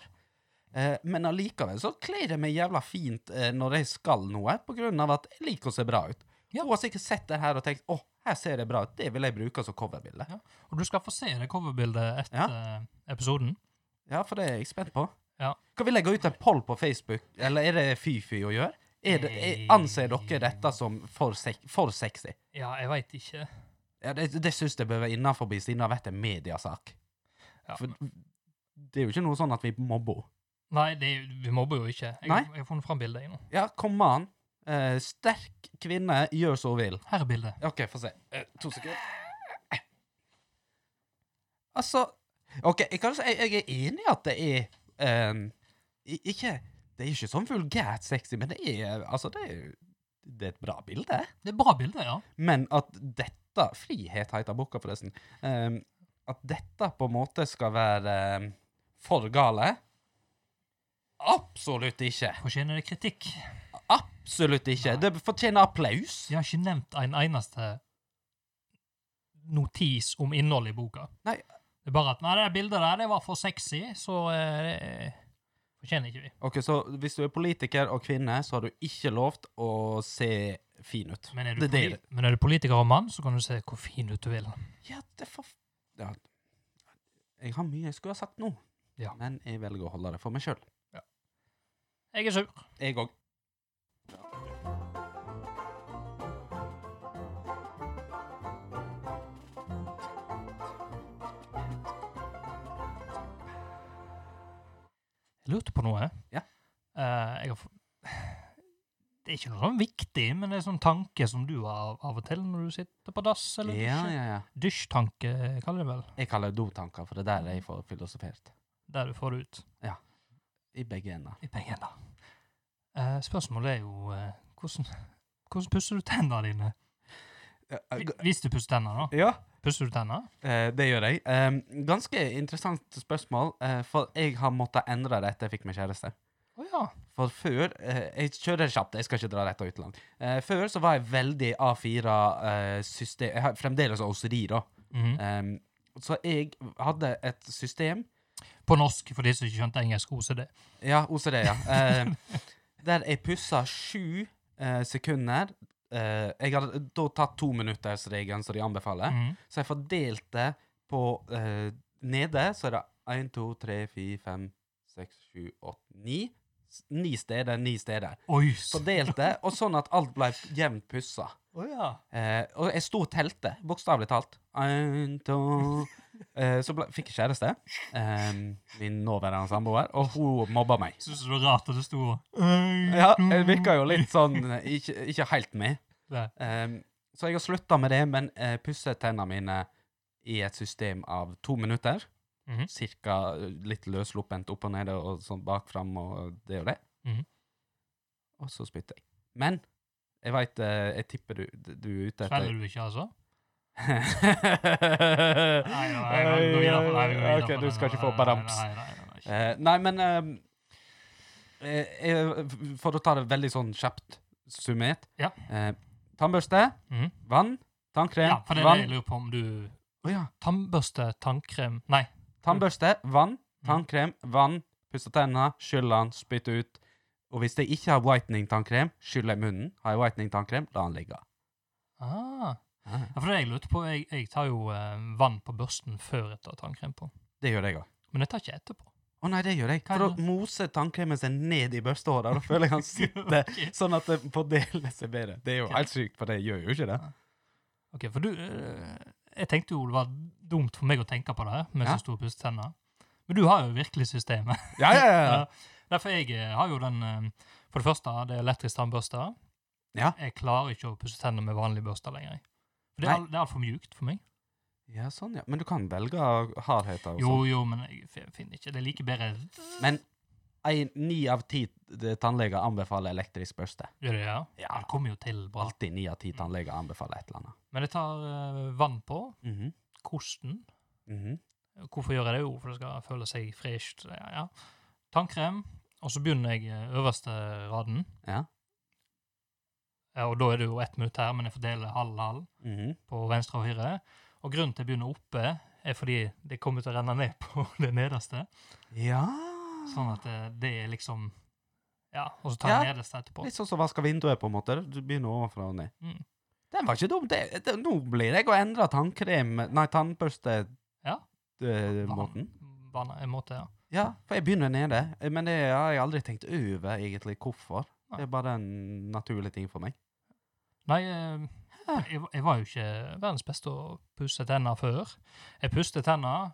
C: Eh, men allikevel så kler jeg meg jævla fint eh, når jeg skal noe, på grunn av at jeg liker å se bra ut.
B: Ja.
C: Hun har sikkert sett det her og tenkt 'Å, her ser det bra ut'. Det vil jeg bruke som coverbilde.
B: Ja. Og du skal få se det coverbildet etter eh, episoden.
C: Ja, for det er jeg spent på.
B: Ja.
C: Skal vi legge ut en poll på Facebook, eller er det fy-fy å gjøre? Er det, er,
B: Eh.
C: anser dere dette som for, sek, for sexy?
B: Ja, jeg veit ikke.
C: Ja, det det syns jeg bør være innafor, siden det har vært en mediasak.
B: Ja,
C: For det er jo ikke noe sånn at vi mobber henne.
B: Nei, det, er jo- vi mobber jo ikke. Jeg,
C: Nei.
B: jeg har funnet fram bildet. jeg nå.
C: Ja, kom an. Eh, sterk kvinne, gjør som hun vil.
B: Her er bildet.
C: OK, få se. Eh, to sekunder. Altså OK, jeg, kan, jo si- jeg, jeg er enig i at det er ehm, i- Ikke Det er ikke sånn vulgært sexy, men det er Altså, det er, det er et bra bilde.
B: Det er bra bilde, ja.
C: Men at dette Frihet heter boka, forresten. ehm, at dette på en måte skal være ehm, for gale Absolutt ikke!
B: Fortjener det kritikk?
C: Absolutt ikke! Det fortjener applaus.
B: De har ikke nevnt en eneste notis om innholdet i boka.
C: Nei.
B: Det er bare at nei, det bildet der det var for sexy, så eh, det fortjener ikke vi.
C: Ok, Så hvis du er politiker og kvinne, så har du ikke lovt å se fin ut.
B: Men er du,
C: Det er
B: poli- men er du politiker og mann, så kan du se hvor fin ut du vil.
C: Ja, det får ja. Jeg har mye jeg skulle ha sagt nå,
B: Ja.
C: men jeg velger å holde det for meg sjøl.
B: Jeg er sur.
C: Jeg òg.
B: Jeg lurte på noe.
C: Ja.
B: Eh, jeg har f- (sighs) det er ikke noe sånn viktig, men det er sånn tanke som du har av og til når du sitter på dass eller
C: Ja,
B: dusjer.
C: ja, ja.
B: Dusjtanke, kaller jeg det vel.
C: Jeg kaller det dotanker, for det er der jeg får filosofert.
B: Der du får det ut.
C: I begge ender.
B: i begge ender. Eh, spørsmålet er jo eh, hvordan, hvordan pusser du tennene dine? Hvi- Hvis du pusser tennene, da.
C: Eh, Ja,
B: Pusser du tennene?
C: eh, det gjør jeg. Eh, Ganske interessant spørsmål, eh, for jeg har måttet endre det etter jeg fikk meg kjæreste.
B: Å ja.
C: For før eh, Jeg kjører kjapt, jeg skal ikke dra rett og ut langt. Eh, før så var jeg veldig A4-system Jeg har fremdeles åseri, da.
B: Mhm.
C: Em, så jeg hadde et system
B: På norsk, for de som ikke skjønte engelsk OCD.
C: Ja, OCD, ja. Eh, der jeg pussa sju eh, sekunder. Eh, jeg hadde da tatt tominuttersregelen som de anbefaler.
B: Mm.
C: Så jeg fordelte på eh, Nede så er det 1, 2, 3, 4, 5, 6, 7, 8, 9. Ni steder, ni steder.
B: Oi!
C: Fordelte, og sånn at alt ble jevnt pussa.
B: Å ja.
C: Eh, og jeg sto og telte, bokstavelig talt. En, to eh, Så ble, fikk jeg kjæreste. Eh, min nåværende samboer. Og hun mobba meg.
B: Syns du det var rart at det sto
C: Ja, jeg virka jo litt sånn eh, ikke, ikke helt med.
B: Nei.
C: Eh, så jeg har slutta med det, men eh, pusser tennene mine i et system av to minutter.
B: Mhm.
C: Cirka eh, litt løssluppent opp og ned og sånn bak fram og det og det.
B: Mhm.
C: Og så spytter jeg. Men jeg veit eh, Jeg tipper du, du er ute etter (laughs)
B: Svelger du ikke, altså?
C: nei,
B: nei, nei, vi går videre på- nei, vi går videre på
C: Ok, du
B: den.
C: skal ikke få
B: Nei,
C: badams.
B: Nei, nei, nei, nei, nei.
C: Eh, Nei, men eh, eh, For å ta det veldig sånn kjapt summert
B: Ja.
C: Eh, Tannbørste,
B: Mhm.
C: vann, tannkrem,
B: Ja, for det er det jeg
C: vann
B: lurer på om du
C: Å ja.
B: Tannbørste, tannkrem Nei.
C: Tannbørste, vann,
B: Mhm.
C: tannkrem, vann, pusse tennene, skylle den, spytte ut. Og hvis jeg ikke har whitening-tannkrem, skyller jeg munnen. Har jeg whitening-tannkrem, la den ligge.
B: Ah. Ja, for det jeg lurte på, jeg, jeg tar jo eh, vann på børsten før jeg tar tannkrem på.
C: Det gjør jeg òg.
B: Men jeg tar ikke
C: (laughs)
B: etterpå.
C: Å nei, det gjør jeg.
B: Hva er
C: For
B: det?
C: da moser tannkremen seg ned i børstehåret. Da føler
B: (laughs)
C: jeg han sitter sånn at det fordeler seg bedre. Det er jo
B: Ok.
C: helt sykt, for det gjør jo ikke det.
B: Ok, for du eh, Jeg tenkte jo det var dumt for meg å tenke på det her, med
C: Ja.
B: så store pussetenner. Men du har jo virkelig systemet. (laughs)
C: Ja, ja, ja.
B: Ja. Derfor jeg eh, har jo den eh, For det første, det er elektrisk tannbørste.
C: Ja.
B: Jeg klarer ikke å pusse tenner med vanlig børste lenger. For Det
C: Nei.
B: er, al- det er altfor mjukt for meg.
C: Ja, sånn, ja. Men du kan velge hardhet og
B: Jo,
C: sånn.
B: jo, men jeg fin- finner ikke. Det er like bedre
C: Men en, ni av ti eh, tannleger anbefaler elektrisk børste.
B: Gjør det, ja?
C: Ja.
B: Det kommer jo til bra.
C: Alltid ni av ti tannleger anbefaler et eller annet.
B: Men jeg tar eh, vann på.
C: Mhm,
B: Kosten.
C: mhm.
B: Hvorfor gjør jeg det? Jo, for det skal føle seg fresht. Ja, ja. Tannkrem. Og så begynner jeg eh, øverste raden.
C: Ja.
B: Ja, og da er det jo ett minutt her, men jeg fordeler halv-halv
C: mhm.
B: på venstre og høyre. Og grunnen til jeg begynner oppe, er fordi det kommer til å renne ned på (laughs) det nederste.
C: Ja
B: Sånn at det, det er liksom Ja, og så tar jeg
C: Ja.
B: nederste etterpå.
C: Litt sånn som vasker vinduet, på en måte. Du begynner ovenfra og ned.
B: Mm.
C: Den var ikke dum. Det, det, nå blir jeg å endre tannkrem Nei, tannbørste
B: Ja.
C: eh,
B: Vann-
C: måten.
B: vann- en måte, ja.
C: Ja, for jeg begynner nede, men det har jeg aldri tenkt over egentlig hvorfor.
B: Nei.
C: Det er bare en naturlig ting for meg.
B: Nei, eh, jeg, jeg var jo ikke verdens beste å pusse tenner før. Jeg pustet tenner,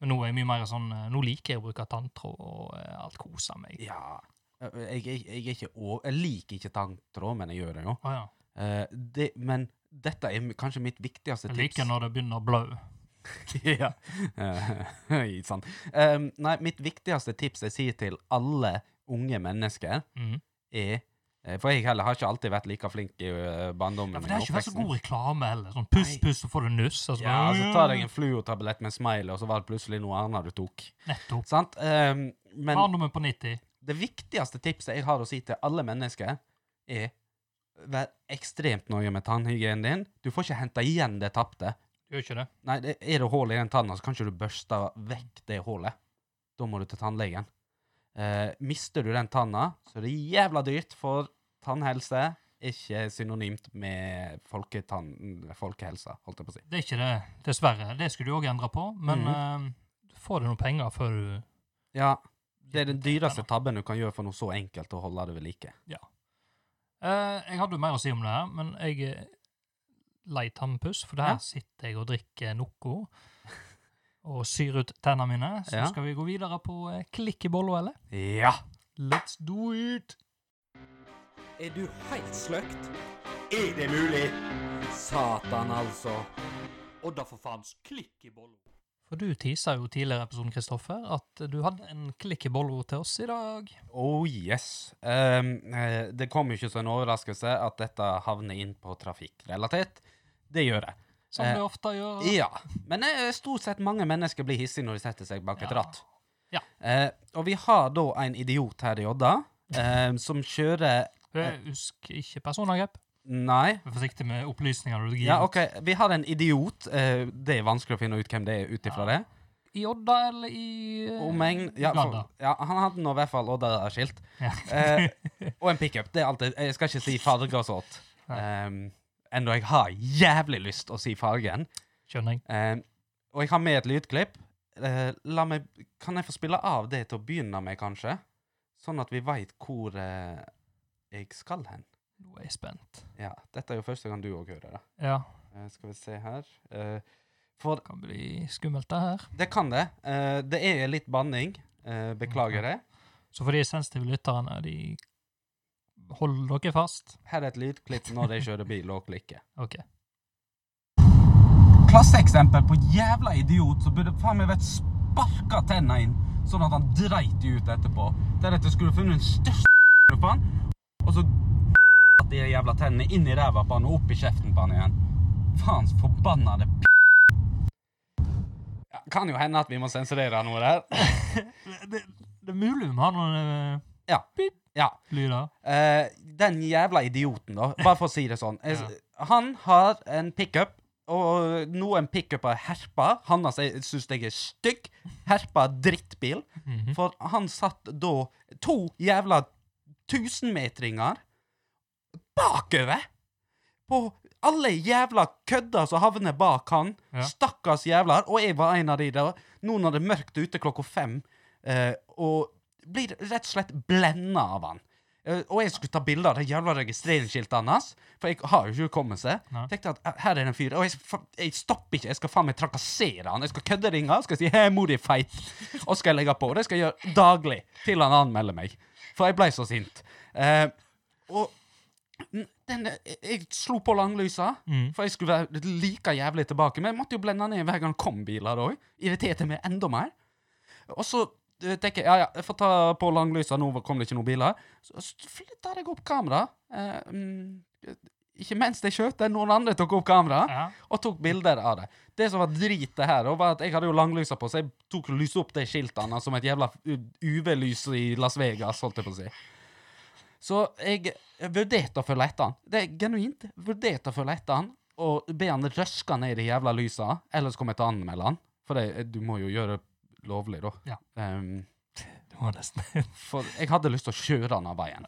B: men nå er jeg mye mer sånn eh, Nå liker jeg å bruke tanntråd og eh, alt koser meg.
C: Ja, Eh, jeg, jeg, jeg, er ikke, å- jeg liker ikke tanntråd, men jeg gjør det jo.
B: Å ja.
C: Eh, det, men dette er kanskje mitt viktigste
B: Jeg
C: tips.
B: liker når det begynner å blø.
C: (laughs) ja. Eh, (laughs) sant. Em, nei, mitt viktigste tips jeg sier til alle unge mennesker,
B: Mm.
C: er eh, For jeg heller har ikke alltid vært like flink i eh, barndommen.
B: Ja, for
C: min
B: det har ikke vært så
C: oppveksten.
B: god reklame heller. Sånn puss,
C: Nei.
B: puss, så får du nuss. og så
C: Ja,
B: bare-
C: så tar jeg en fluotablett med smile, og så var det plutselig noe annet du tok.
B: Nettopp.
C: Sant? Em, men
B: Barndommen på 90.
C: det viktigste tipset jeg har å si til alle mennesker, er vær ekstremt nøye med tannhygienen din. Du får ikke henta igjen det tapte.
B: Gjør ikke det.
C: Nei, det, er det hull i den tanna, så kan ikke du børste vekk det hullet. Da må du til tannlegen. Eh, mister du den tanna, så er det jævla dyrt, for tannhelse er ikke synonymt med folketann, folkehelsa, holdt jeg på å si.
B: Det er ikke det, dessverre. Det skulle du òg endre på, men
C: Mm.
B: eh, du får du noen penger før du
C: Ja, det er den dyreste tabben du kan gjøre for noe så enkelt å holde det ved like.
B: Eh, jeg hadde jo mer å si om det her, men jeg eh, er lei tannpuss, for der
C: Ja.
B: sitter jeg og drikker noe (laughs) og syr ut tennene mine. Så
C: Ja.
B: skal vi gå videre på eh, klikk i bolla, eller?
C: Ja!
B: Let's do it!
D: Er du helt sløkt? Er det mulig? Satan, altså. Og da for faens klikk i bollen.
B: For du tisa jo tidligere i episoden, Kristoffer, at du hadde en klikk i bolla til oss i dag.
C: Oh yes. Ehm, eh, det kom jo ikke som en overraskelse at dette havner inn på trafikkrelatert. Det gjør det.
B: Som
C: Eh,
B: vi ofte gjør.
C: Ja. Men eh, stort sett mange mennesker blir hissige når de setter seg bak et
B: Ja.
C: ratt.
B: Ja.
C: Eh, og vi har da en idiot her i Odda ehm, som kjører
B: Eh, Husk ikke personangrep.
C: Nei.
B: Vær forsiktig med opplysninger du gir.
C: Ja, OK. Vi har en idiot. eh, det er vanskelig å finne ut hvem det er ut ifra det.
B: I Odda eller i eh,
C: Omegn ja, for,
B: Uganda?
C: ja, han hadde nå i hvert fall Odda-skilt.
B: Ja.
C: Eh, og en pickup. Det er alt jeg- Jeg skal ikke si farger og sånt. Um, Enda jeg har jævlig lyst å si fargen.
B: Skjønner jeg.
C: Um, og jeg har med et lydklipp. Eh, la meg, kan jeg få spille av det til å begynne med, kanskje? Sånn at vi veit hvor eh, jeg skal hen.
B: Nå er jeg spent.
C: Ja, Dette er jo første gang du òg hører det.
B: Ja,
C: Eh, skal vi se her Eh, For
B: det kan bli skummelt, det her.
C: det kan det. Eh, det er litt banning. Eh, beklager det.
B: Så for de sensitive lytterne, de Hold dere fast.
C: Her er et lydklipp når jeg kjører bil og klikker.
B: OK.
C: klasseeksempel på jævla idiot som burde faen meg vært sparka tenna inn, sånn at han dreit de ut etterpå. Deretter skulle du funnet den største (laughs) på han, og så (laughs) at de jævla tennene inn i ræva på han og opp i kjeften på han igjen. Faens forbannede (laughs) p... Ja, kan jo hende at vi må sensurere noe der.
B: Det, det er mulig vi må ha noen eh,
C: Ja. Ja.
B: lyder.
C: Eh, den jævla idioten, da. Bare for å si det sånn. Jeg-
B: Ja.
C: Han har en pickup, og noen pickuper herper. Han syns jeg er stygg. Herpa drittbil.
B: Mhm.
C: For han satt da to jævla tusenmetringer bakover! På alle jævla kødder som havner bak han.
B: Ja.
C: Stakkars jævlar. Og jeg var en av de der. Nå når det er mørkt ute klokka fem, eh, og blir rett og slett blenda av han. Eh, og jeg skulle ta bilde av det jævla registreringsskiltet hans, for jeg har jo ikke kommet seg.
B: Nei.
C: Tenkte at eh, her er det en fyr, og jeg, fa- jeg stopper ikke, jeg skal faen meg trakassere han. Jeg skal kødderinge han, skal si 'hei, mor di er feit', og skal jeg legge på. Det skal jeg gjøre daglig til han anmelder meg, for jeg ble så sint. Eh, og n- den, jeg, jeg slo på langlysa,
B: Mm.
C: for jeg skulle være like jævlig tilbake, men jeg måtte jo blende ned hver gang det kom biler òg. Irriterte meg enda mer. Og så eh, tenker jeg ja, ja, jeg får ta på langlysa, nå kom det ikke noen biler. Så s- flytter jeg opp kamera. Eh, mm, ikke mens jeg kjørte, noen andre tok opp kamera
B: Ja.
C: og tok bilder av det. Det som var dritet her, da, var at jeg hadde jo langlysa på, så jeg tok og lyste opp de skiltene som et jævla u- UV-lys i Las Vegas, holdt jeg på å si. Så jeg vurderte å følge etter han. Det er genuint. Vurderte å følge etter han og be han røske ned de jævla lysa, ellers kommer jeg til å anmelde han. For det, du må jo gjøre det lovlig, da.
B: Ja.
C: Ehm,
B: Det var nesten (laughs)
C: for jeg hadde lyst til å kjøre han av veien.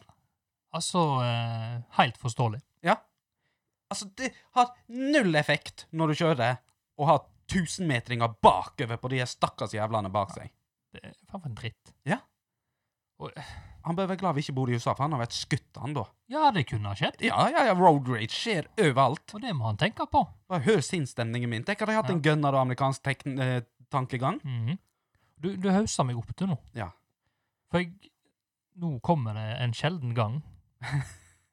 B: Altså eh, helt forståelig.
C: Altså, det har null effekt når du kjører og har tusenmetringer bakover på de her stakkars jævlene bak seg.
B: Det er faen for en dritt.
C: Han bør være glad vi ikke bor i USA, for han har vært skutt, han da.
B: Ja, det kunne ha skjedd,
C: Ja, ja, ja, road rage skjer overalt.
B: og det må han tenke på.
C: Bare hør sinnsstemningen min. Tenk at jeg hadde
B: Ja.
C: en gunner og amerikansk tekn- eh, tankegang.
B: Mhm. Du, du hauser meg opp til nå.
C: Ja.
B: For jeg, nå kommer det en sjelden
C: (laughs)
B: gang.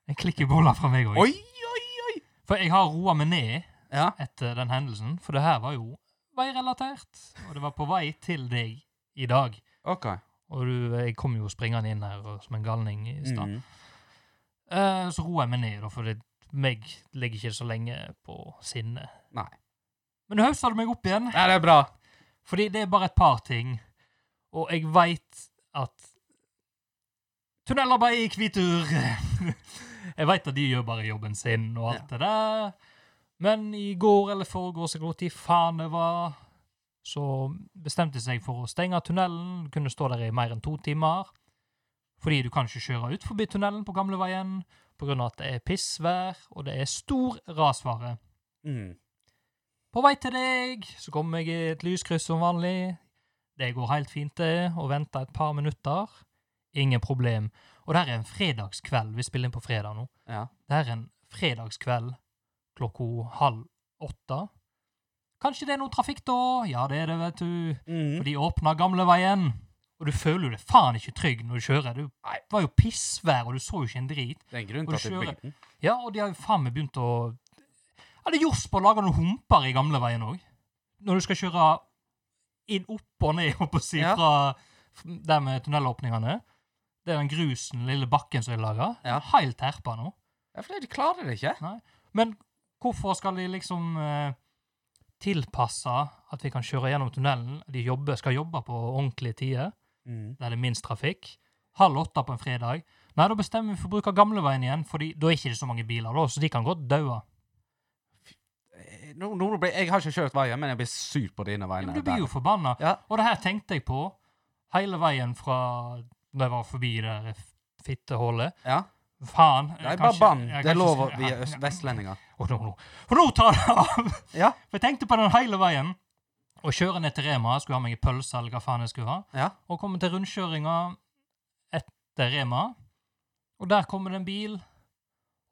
B: En klikkebolle fra meg òg.
C: Oi, oi, oi!
B: For jeg har roa meg ned
C: Ja,
B: etter den hendelsen, for det her var jo veirelatert. Og det var på vei til deg i dag.
C: ok.
B: Og du, jeg kom jo springende inn her og- som en galning i stad.
C: Mm.
B: Eh, så roer jeg meg ned, da, for det, meg ligger ikke så lenge på sinnet.
C: Nei.
B: Men nå hauser du meg opp igjen,
C: Nei, det er bra.
B: fordi det er bare et par ting. Og jeg veit at Tunnelarbeid i Kvitur (laughs) Jeg veit at de gjør bare jobben sin og alt det der. Men i går eller foregårs, eller hvor tid faen det var, så bestemte de seg for å stenge tunnelen. Du kunne stå der i mer enn to timer. Fordi du kan ikke kjøre ut forbi tunnelen på gamleveien pga. at det er pissvær, og det er stor rasfare.
C: Mm.
B: På vei til deg, så kommer jeg i et lyskryss som vanlig. Det går helt fint, det, og venter et par minutter. Ingen problem. Og det her er en fredagskveld. Vi spiller inn på fredag nå.
C: Ja.
B: Det her er en fredagskveld klokka halv åtte. Kanskje det er noe trafikk da? Ja, det er det, vet du.
C: Mm.
B: For de åpna gamleveien. Og du føler jo deg faen ikke trygg når du kjører. Du det var jo pissvær, og du så jo ikke en drit.
C: Det er en grunn
B: Og
C: til at det er
B: kjøre.
C: bygden.
B: Ja, og de har jo faen meg begynt å Ja, det er Jors på å lage noen humper i gamleveien òg. Når du skal kjøre inn opp og ned, holdt på å si,
C: Ja.
B: fra f- der med tunnelåpningene. Det er den grusen, den lille bakken som er laga.
C: Ja.
B: Helt terpa nå.
C: Ja, for de klarer det ikke.
B: Men hvorfor skal de liksom eh, tilpasse at vi kan kjøre gjennom tunnelen? De jobber, skal jobbe på ordentlige tider
C: Mm.
B: der det er minst trafikk. Halv åtte på en fredag. Nei, da bestemmer vi for å bruke gamleveien igjen, fordi da er ikke det så mange biler, da, så de kan godt daue.
C: Eh, nå, nå ble, jeg har ikke kjørt veien, men jeg blir sur på dine
B: Ja,
C: vegne.
B: men du blir jo
C: der.
B: forbanna.
C: Ja.
B: Og det her tenkte jeg på hele veien fra da jeg var forbi det der fittehullet.
C: ja.
B: Faen. jeg
C: Det er
B: kan
C: bare
B: ikke-
C: bann.
B: jeg
C: Det er
B: kan
C: lov å
B: ikke si- (laughs)
C: Vi
B: ja,
C: er øst-
B: ja.
C: vestlendinger.
B: Og nå, nå. For nå tar det av!
C: Ja.
B: For jeg tenkte på den hele veien. Og kjører ned til Rema, skulle ha meg en pølse eller hva faen jeg skulle ha.
C: Ja.
B: Og kommer til rundkjøringa etter Rema, og der kommer det en bil.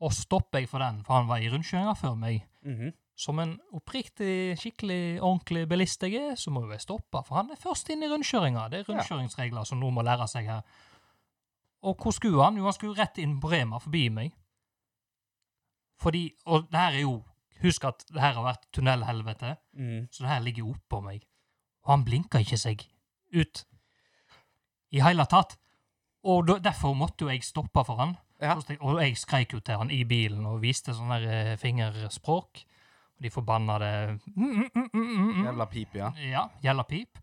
B: Og stopper jeg for den, for han var i rundkjøringa før meg.
C: Mhm.
B: Som en oppriktig, skikkelig, ordentlig bilist jeg er, så må jo jeg stoppe, for han er først inn i rundkjøringa. Det er rundkjøringsregler som noen må lære seg her. Og hvor skulle han? Jo, han skulle rett inn på Rema, forbi meg. Fordi Og det her er jo Husk at det her har vært tunnelhelvete,
C: Mhm.
B: så det her ligger jo oppå meg. Og han blinka ikke seg ut. I hele tatt. Og da, derfor måtte jo jeg stoppe for han.
C: Ja.
B: Og så tenkte- Og jeg skreik jo til han i bilen og viste sånn der eh, fingerspråk. Og de forbanna det mm, mm, mm, mm, mm, mm.
C: Jævla pip, ja.
B: Ja, gjelda pip.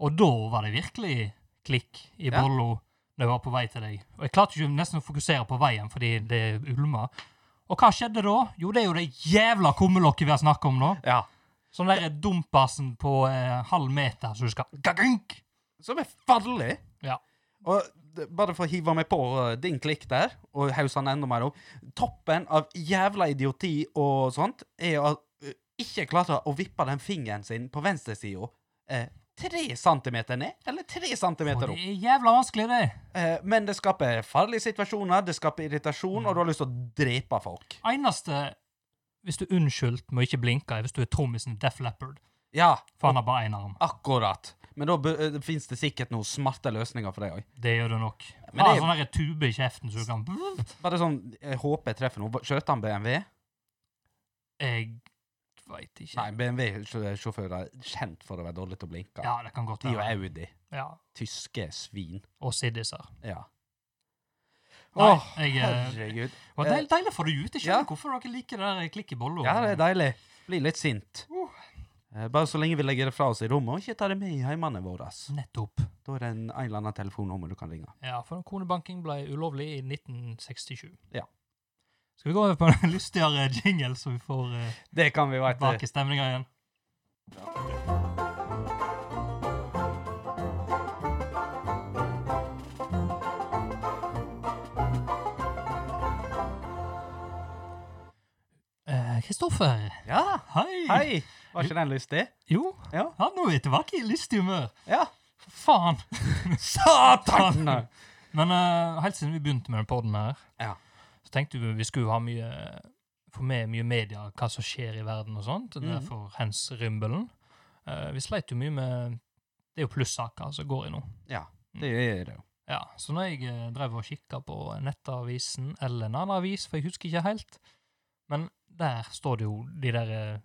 B: Og da var det virkelig klikk i
C: Ja.
B: bollo når jeg var på vei til deg. Og jeg klarte ikke nesten å fokusere på veien fordi det ulma. Og hva skjedde da? Jo, det er jo det jævla kummelokket vi har snakka om nå.
C: ja.
B: Sånn derre dumpasen på eh, halv meter som du skal gagunk!
C: Som er farlig.
B: Ja.
C: Og d- bare for å hive meg på uh, din klikk der, og hausse han enda mer opp Toppen av jævla idioti og sånt er at uh, ikke klarte å vippe den fingeren sin på venstresida eh, tre centimeter ned, eller tre
B: Og
C: centimeter
B: det
C: opp.
B: er jævla vanskelig, det.
C: Eh, men det skaper farlige situasjoner, det skaper irritasjon, og du har lyst til å drepe folk.
B: Eneste hvis du er unnskyldt med å ikke blinke, er hvis du er trommisen i sånn Def Leppard.
C: Ja,
B: For han har bare én arm.
C: akkurat. Men da fins det sikkert noen smarte løsninger for det òg.
B: Det gjør du nok.
C: Men
B: Ha en
C: det er-
B: sånn der tube i kjeften så du kan
C: Bare sånn, jeg håper jeg treffer noe. Skjøt han BMW?
B: Jeg veit ikke.
C: Nei, BMW-sjåfører er kjent for å være dårlige til å blinke.
B: Ja, det kan godt
C: De og
B: være.
C: Audi.
B: Ja.
C: Tyske svin.
B: Og siddiser.
C: Ja.
B: Nei,
C: Åh,
B: jeg, eh,
C: herregud.
B: Og det er deilig å få det ut. Jeg skjønner
C: Ja.
B: hvorfor dere liker det der klikk i bolla.
C: Ja, det er deilig. Blir litt sint.
B: Uh.
C: Eh, Bare så lenge vi legger det fra oss i rommet, og ikke tar det med i heimene våre.
B: Nettopp.
C: Da er det en, en eller annen telefonnummer du kan ringe.
B: Ja, for konebanking ble ulovlig i 1967.
C: Ja.
B: Skal vi gå over på en lystigere jingle, så vi får eh,
C: Det kan vi jo
B: tilbake stemninga igjen? Eh, Kristoffer,
C: Ja,
B: hei!
C: hei! Var ikke den lystig?
B: Jo, ja.
C: Ja.
B: nå er vi tilbake i lystig humør.
C: Ja.
B: Faen! (laughs)
C: Satan!
B: Men eh, helt siden vi begynte med den podden her,
C: Ja.
B: så tenkte vi vi skulle ha mye, få med mye media, hva som skjer i verden og sånt.
C: Mhm.
B: Derfor hens rymbelen. Eh, vi sleit jo mye med Det er jo plussaker som går i nå.
C: Ja, det er det jo.
B: Ja, Så når jeg eh, drev og kikka på Nettavisen eller en annen avis, for jeg husker ikke helt, men der står det jo de der eh,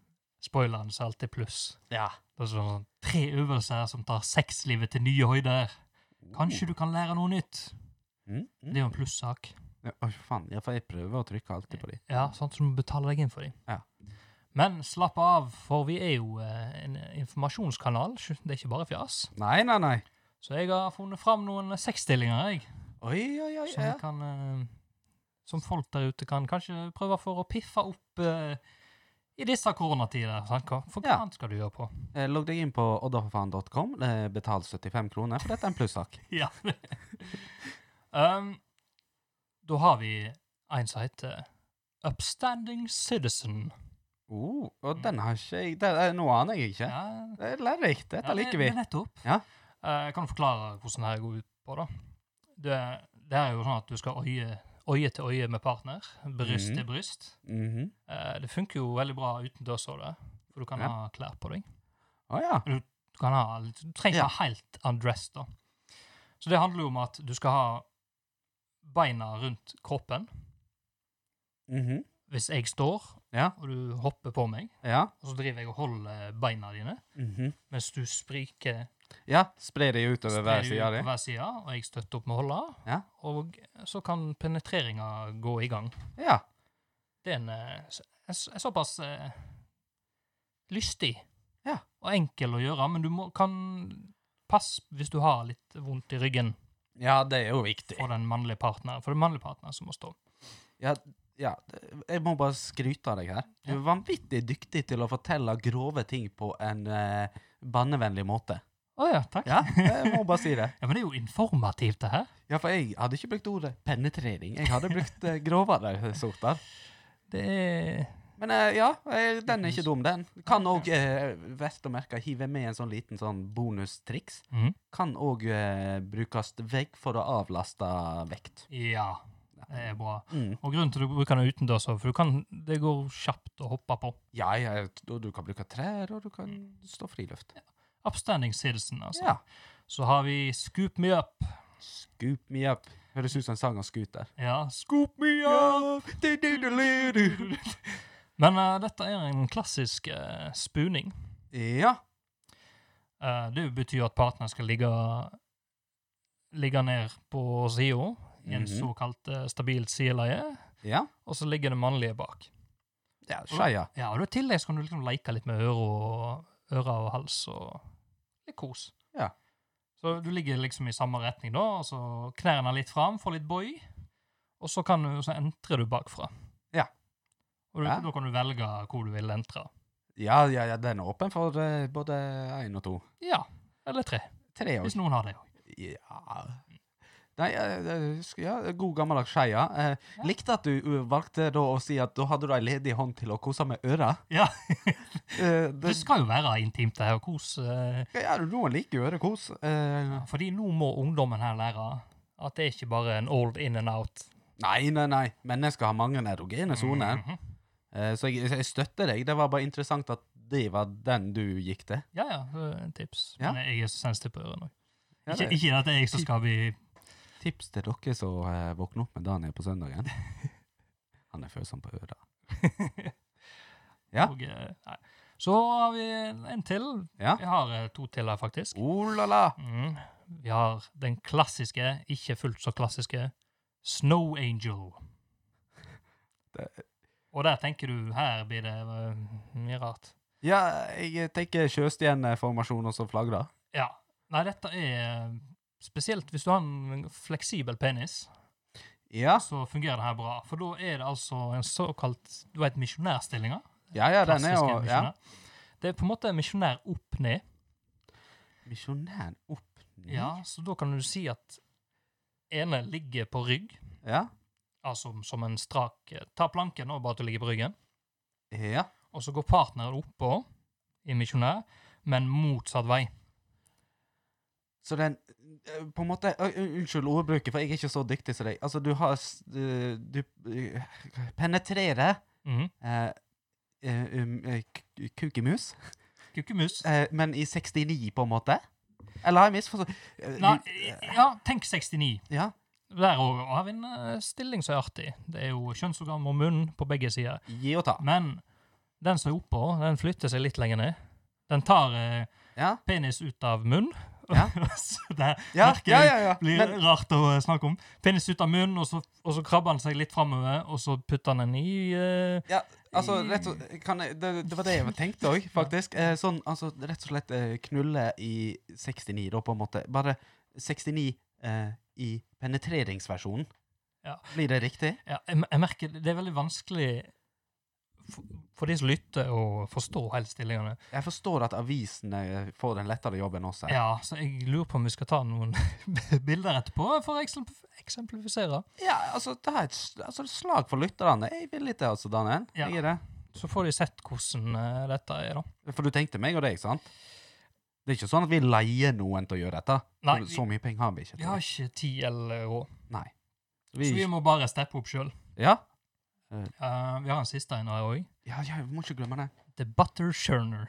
B: spoilerne som alltid er pluss.
C: Ja.
B: Det er sånn tre øvelser som tar sexlivet til nye høyder. Kanskje du kan lære noe nytt.
C: Oh. Mm, mm.
B: Det er jo en plussak.
C: Ja, Å, faen. Ja, for jeg prøver å trykke alltid på de.
B: Ja, sånn som du betaler deg inn for dem.
C: Ja.
B: Men slapp av, for vi er jo eh, en informasjonskanal. sj- Det er ikke bare fjas.
C: Nei, nei, nei.
B: Så jeg har funnet fram noen sexstillinger, jeg.
C: Oi, oi, oi.
B: Som,
C: Ja.
B: jeg kan, eh, som folk der ute kan kanskje prøve for å piffe opp eh, i disse koronatider. Sant? Hva- For hva
C: Ja.
B: annet skal du gjøre på?
C: Eh, Logg deg inn på oddaforfaen.com. eh, Betal 75 kroner, for dette er en plussak.
B: (laughs) Ja. um, da har vi en som heter Upstanding Citizen.
C: Oh, og den har ikke jeg det er, Nå aner jeg ikke.
B: Ja,
C: Det er lærerikt. Dette
B: Ja,
C: liker
B: det-
C: vi.
B: det er Nettopp.
C: Ja.
B: Eh, jeg kan forklare hvordan det her går ut på, da. Det, det er jo sånn at du skal øye, øye til øye med partner. Bryst
C: Mhm.
B: til bryst.
C: Mhm.
B: Eh, det funker jo veldig bra utendørs òg, det. For du kan
C: Ja.
B: ha klær på deg.
C: Å ja.
B: Du, kan ha, litt- du trenger
C: Ja.
B: ikke ha helt undressed, da. Så det handler jo om at du skal ha beina rundt kroppen.
C: Mhm.
B: Hvis jeg står,
C: Ja.
B: og du hopper på meg,
C: Ja.
B: og så driver jeg og holder beina dine,
C: Mhm.
B: mens du spriker
C: ja. Spre det utover hver
B: Sprer
C: side
B: ut
C: av
B: på
C: det.
B: hver side, og jeg støtter opp med hånda.
C: Ja.
B: Og så kan penetreringa gå i gang.
C: Ja.
B: Det er en, eh, s- en, s- en såpass eh, lystig
C: Ja.
B: og enkel å gjøre, men du må, kan passe hvis du har litt vondt i ryggen
C: ja, det er jo viktig.
B: for den mannlige partneren. For den mannlige partneren som må stå.
C: Ja, ja, jeg må bare skryte av deg her. Du er vanvittig dyktig til å fortelle grove ting på en eh, bannevennlig måte.
B: Å ja, takk.
C: Ja, jeg må bare si det.
B: Ja, men det er jo informativt, det her.
C: Ja, for jeg hadde ikke brukt ordet penetrering. Jeg hadde brukt eh, grovere sorter.
B: Det er
C: Men eh, ja, eh, den er ikke dum, den. Kan òg, uh, verst å merke, hive med en sånn liten sånn bonustriks.
B: Mhm.
C: Kan òg brukes vegg for å avlaste vekt.
B: Ja. Det er bra.
C: Mm.
B: Og grunnen til at du bruker den utendørs, for du kan, det går kjapt å hoppe på.
C: Ja, ja, og du kan bruke trær, og du kan stå friluft.
B: Upstanding citizen, altså.
C: Ja.
B: Så har vi Scoop Me Up.
C: Scoop me up. Høres ut som en sang av Scooter.
B: Ja, Scoop Me Up! Men eh, dette er en klassisk eh, spuning.
C: Ja.
B: Eh, det betyr at partneren skal ligge, ligge ned på sida, i en
C: Mhm.
B: såkalt eh, stabilt sideleie,
C: Ja.
B: og så ligger det mannlige bak.
C: ja Shia.
B: Ja, og I tillegg så kan du liksom leke litt med ører og, ører og hals og litt kos.
C: Ja.
B: Så du ligger liksom i samme retning, da, og så knærne litt fram, får litt bøy, og så, kan du, så entrer du bakfra.
C: Ja.
B: Og du,
C: Ja.
B: da kan du velge hvor du vil entre.
C: Ja, ja, ja, den er åpen for eh, både én og to.
B: Ja. Eller tre,
C: Tre
B: hvis
C: òg.
B: noen har det.
C: Ja. Nei, eh, eh, sk- ja, god gammeldags Shia. Eh, Likte at du eh, valgte da å si at da hadde du ei ledig hånd til å kose med øra.
B: Ja. (laughs)
C: Eh,
B: Det
C: det,
B: skal jo være intimt, det her. og Kos. eh,
C: ja, noen liker jo ørekos. Eh,
B: Fordi nå må ungdommen her lære at det er ikke bare en old in and out.
C: nei, nei, nei. Mennesker har mange erogene soner.
B: Mhm.
C: Eh, Så jeg, jeg støtter deg. Det var bare interessant at det var den du gikk til.
B: Ja, ja. det er en Tips.
C: Ja.
B: Men jeg er så sensitiv på ørene òg.
C: Ja,
B: Ikke,
C: det-
B: ikke at det er jeg som skal bli
C: Tips til dere som eh, våkner opp med Daniel på søndagen. Han er følsom på øra. Ja.
B: og, eh, nei. Så har vi en til.
C: Ja.
B: Vi har eh, to til her, faktisk.
C: Oh la la!
B: Mm. Vi har den klassiske, ikke fullt så klassiske, Snow Angel.
C: Det-
B: Og der tenker du her blir det eh, mye rart.
C: Ja, jeg tenker sjøstjerneformasjon og så flagrer.
B: Ja. Nei, dette er eh, spesielt hvis du har en fleksibel penis.
C: Ja,
B: så fungerer det her bra. For da er det altså en såkalt Du vet misjonærstillinga?
C: ja, ja den er
B: Klassiske
C: jo ja.
B: misjonær. Det er på en måte misjonær opp ned.
C: Misjonær opp ned.
B: Ja, så da kan du si at ene ligger på rygg,
C: Ja.
B: altså som en strak eh, Ta planken nå, bare at du ligger på ryggen,
C: ja.
B: og så går partneren oppå i misjonær, men motsatt vei.
C: Så den eh, På en måte ø, ø, Unnskyld ordbruket, for jeg er ikke så dyktig som deg. Altså, du har s- eh, Du eh, penetrerer
B: Mhm.
C: eh, eh, um, eh, k- kukemus.
B: Kukkemus.
C: Eh, men i 69, på en måte? Eller har jeg misforstått? Eh,
B: Nei,
C: du-
B: ja, tenk 69.
C: Ja.
B: Der òg har vi en eh, stilling som er artig. Det er jo kjønnsorgan og munn på begge sider.
C: Gi og ta.
B: Men den som er oppå, den flytter seg litt lenger ned. Den tar eh,
C: Ja.
B: penis ut av munn.
C: Ja.
B: (laughs) Så det
C: Ja,
B: merker
C: ja,
B: jeg
C: ja. ja.
B: blir
C: Men,
B: rart å eh, snakke om. Penis ut av munn, og så, og så krabber han seg litt framover, og så putter han den i eh,
C: ja, altså, rett og kan jeg, det, det var det jeg
B: (laughs)
C: tenkte òg, faktisk. Eh, sånn, altså, rett og slett eh, knulle i 69, da, på en måte. Bare 69 eh, i penetreringsversjonen.
B: Ja.
C: Blir det riktig?
B: ja, jeg, jeg merker det er veldig vanskelig for, for de som lytter, å forstå hele stillingene.
C: Jeg forstår at avisene eh, får den lettere jobben også.
B: Ja, så jeg lurer på om vi skal ta noen (laughs) bilder etterpå for å eksemplif- eksemplifisere.
C: Ja, altså, det er et s- altså, et slag for lytterne. Jeg er villig til altså, Daniel.
B: Ja.
C: Jeg er det.
B: Så får de sett hvordan eh, dette er, da.
C: For du tenkte meg og deg, sant? Det er ikke sånn at vi leier noen til å gjøre dette.
B: Nei,
C: For så mye penger har vi ikke. til
B: Vi har
C: det.
B: ikke tid eller råd.
C: Nei. Vi,
B: Så vi må bare steppe opp sjøl.
C: ja?
B: vi har en siste en her òg.
C: Ja, ja, vi må ikke glemme det.
B: The Butter Churner.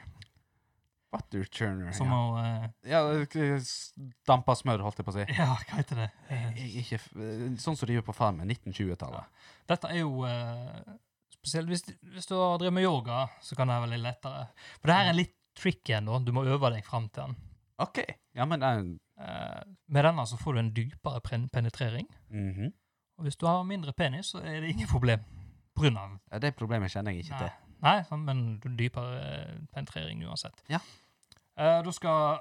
C: Butter churner.
B: Som
C: ja.
B: må eh, (laughs)
C: ja, k- s- dampa smør, holdt jeg på å si.
B: Ja, hva heter det? Eh,
C: Jeg, er ikke, f- sånn som de gjør på farmen, 1920-tallet.
B: dette er jo eh, Spesielt hvis, hvis du har drevet med yoga, så kan det være litt lettere. For det her er litt tricky ennå. Du må øve deg fram til den.
C: OK. Ja, men det er en-
B: Eh, med denne så får du en dypere pen penetrering.
C: Mhm.
B: Og hvis du har mindre penis, så er det ingen problem. På grunn av
C: ja, Det problemet kjenner jeg ikke
B: Nei.
C: til.
B: Nei, sånn, men du dypere eh, penetrering uansett.
C: Ja.
B: Eh, da skal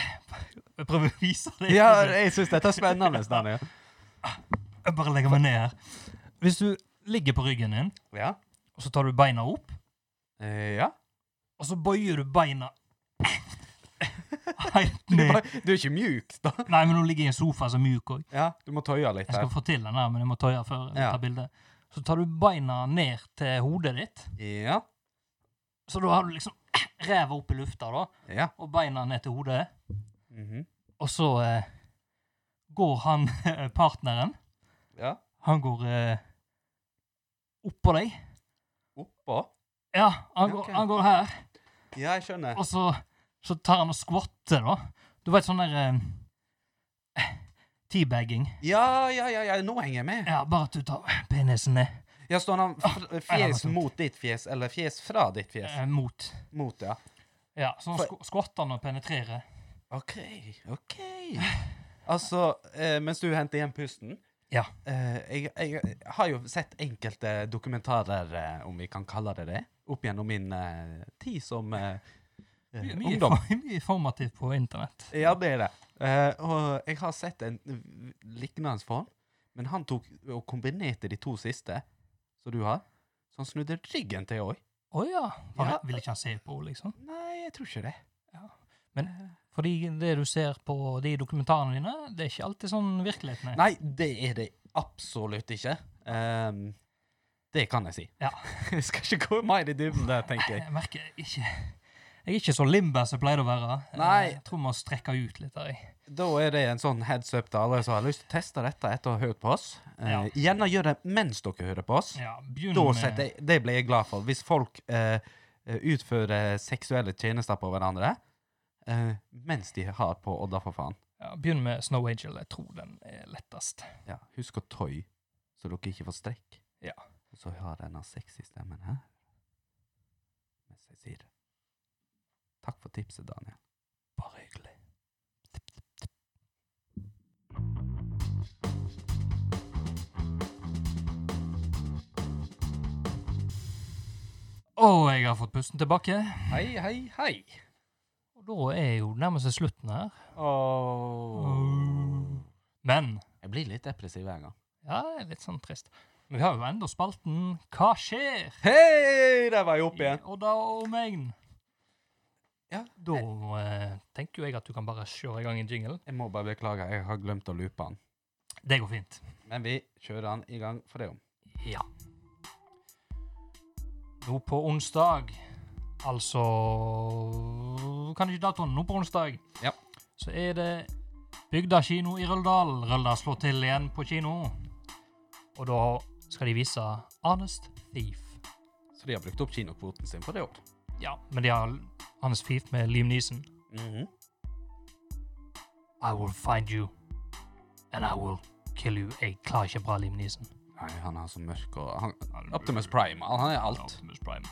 B: (laughs) jeg prøve å vise deg.
C: Ja, jeg syns dette er spennende, Daniel.
B: Jeg bare legger meg ned her. Hvis du ligger på ryggen din,
C: Ja.
B: og så tar du beina opp,
C: Eh, ja.
B: og så bøyer du
C: (laughs)
B: beina helt
C: Du,
B: ned.
C: bare, du er ikke mjuk, da.
B: Nei, men nå ligger jeg i en sofa som er mjuk òg.
C: Ja, du må tøye litt
B: Jeg skal
C: her.
B: få til den her, men jeg må tøye før jeg
C: Ja.
B: tar bildet. Så tar du beina ned til hodet ditt,
C: Ja.
B: så da har du liksom (clears throat) ræva opp i lufta, da,
C: Ja.
B: og beina ned til hodet.
C: Mhm.
B: Og så eh, går han eh, partneren
C: Ja.
B: Han går eh, oppå deg.
C: Oppå.
B: Ja, han,
C: Ja,
B: går,
C: ok.
B: han går her,
C: Ja, jeg skjønner.
B: og så, så tar han og skvatter, da. Du vet sånn der eh, (clears throat) teabagging.
C: Ja, ja, ja, ja, nå henger jeg med.
B: Ja, bare at du tar penisen ned
C: Ja, står han f-
B: det var
C: fjes
B: sant.
C: mot ditt fjes, eller fjes fra ditt fjes?
B: eh, mot.
C: Mot, ja.
B: Ja, så han
C: For-
B: sk skvatter han og penetrerer.
C: OK, OK. Altså, eh, mens du henter igjen pusten
B: Ja.
C: eh, jeg, jeg har jo sett enkelte dokumentarer, eh, om vi kan kalle det det, opp gjennom min eh, tid som eh, eh,
B: Mye,
C: ungdom.
B: (laughs) mye, mye formativt på internett.
C: Ja, det er det. Eh, og jeg har sett en eh, lignende form, men han tok og kombinerte de to siste som du har. Så han snudde ryggen til òg.
B: Å ja. Han,
C: Ja.
B: Vil ikke han se på, liksom?
C: Nei, jeg tror ikke det.
B: Fordi det du ser på de dokumentarene dine, det er ikke alltid sånn virkeligheten er.
C: Nei, det er det absolutt ikke. Ehm, det kan jeg si.
B: Ja.
C: (laughs) jeg skal ikke gå mer i dybden der, tenker jeg.
B: Jeg merker ikke Jeg er ikke så limber som jeg pleier å være. Eh,
C: Nei.
B: Jeg tror vi må strekke ut litt der. jeg.
C: Da er det en sånn heads up til alle som har lyst til å teste dette etter å ha hørt på oss. Eh,
B: Ja.
C: Gjerne gjør det mens dere hører på oss.
B: Ja, Mm. begynn
C: Da
B: med-
C: setter jeg, det blir jeg glad for. Hvis folk eh, utfører seksuelle tjenester på hverandre eh, mens de har på Odda, for faen.
B: ja, begynn med Snow Angel. Jeg tror den er lettest.
C: Ja, husk å tøy, så dere ikke får strekk.
B: Ja.
C: Og så har denne sexy stemmen her. Mens jeg sier det. Takk for tipset, Daniel.
B: Bare hyggelig. Å, jeg har fått pusten tilbake.
C: Hei, hei, hei.
B: Og da er jo nærmest slutten her.
C: Åh.
B: Men
C: Jeg blir litt depressiv hver gang.
B: Ja, det er litt sånn trist. Men vi har jo enda spalten Hva skjer?
C: Hei, der var jeg oppe igjen.
B: Og da omegn.
C: Ja.
B: Da eh, tenker jo jeg at du kan bare kjøre i gang en jingle.
C: Jeg må bare beklage, jeg har glemt å loope den.
B: Det går fint.
C: Men vi kjører den i gang for det om.
B: Ja. Nå på onsdag, altså Kan ikke datoen. Nå på onsdag
C: Ja.
B: så er det Bygda kino i Røldal. Røldal slår til igjen på kino. Og da skal de vise Honest Thief.
C: Så de har brukt opp kinokvoten sin for det år.
B: Ja, men de har hans fief med Liam Neeson.
C: Mhm.
B: I will find you, and I will kill you. Jeg klarer ikke bra Liam Neeson.
C: Nei, han er så mørk og han, Optimus Prime, han han er alt.
B: Optimus Prime.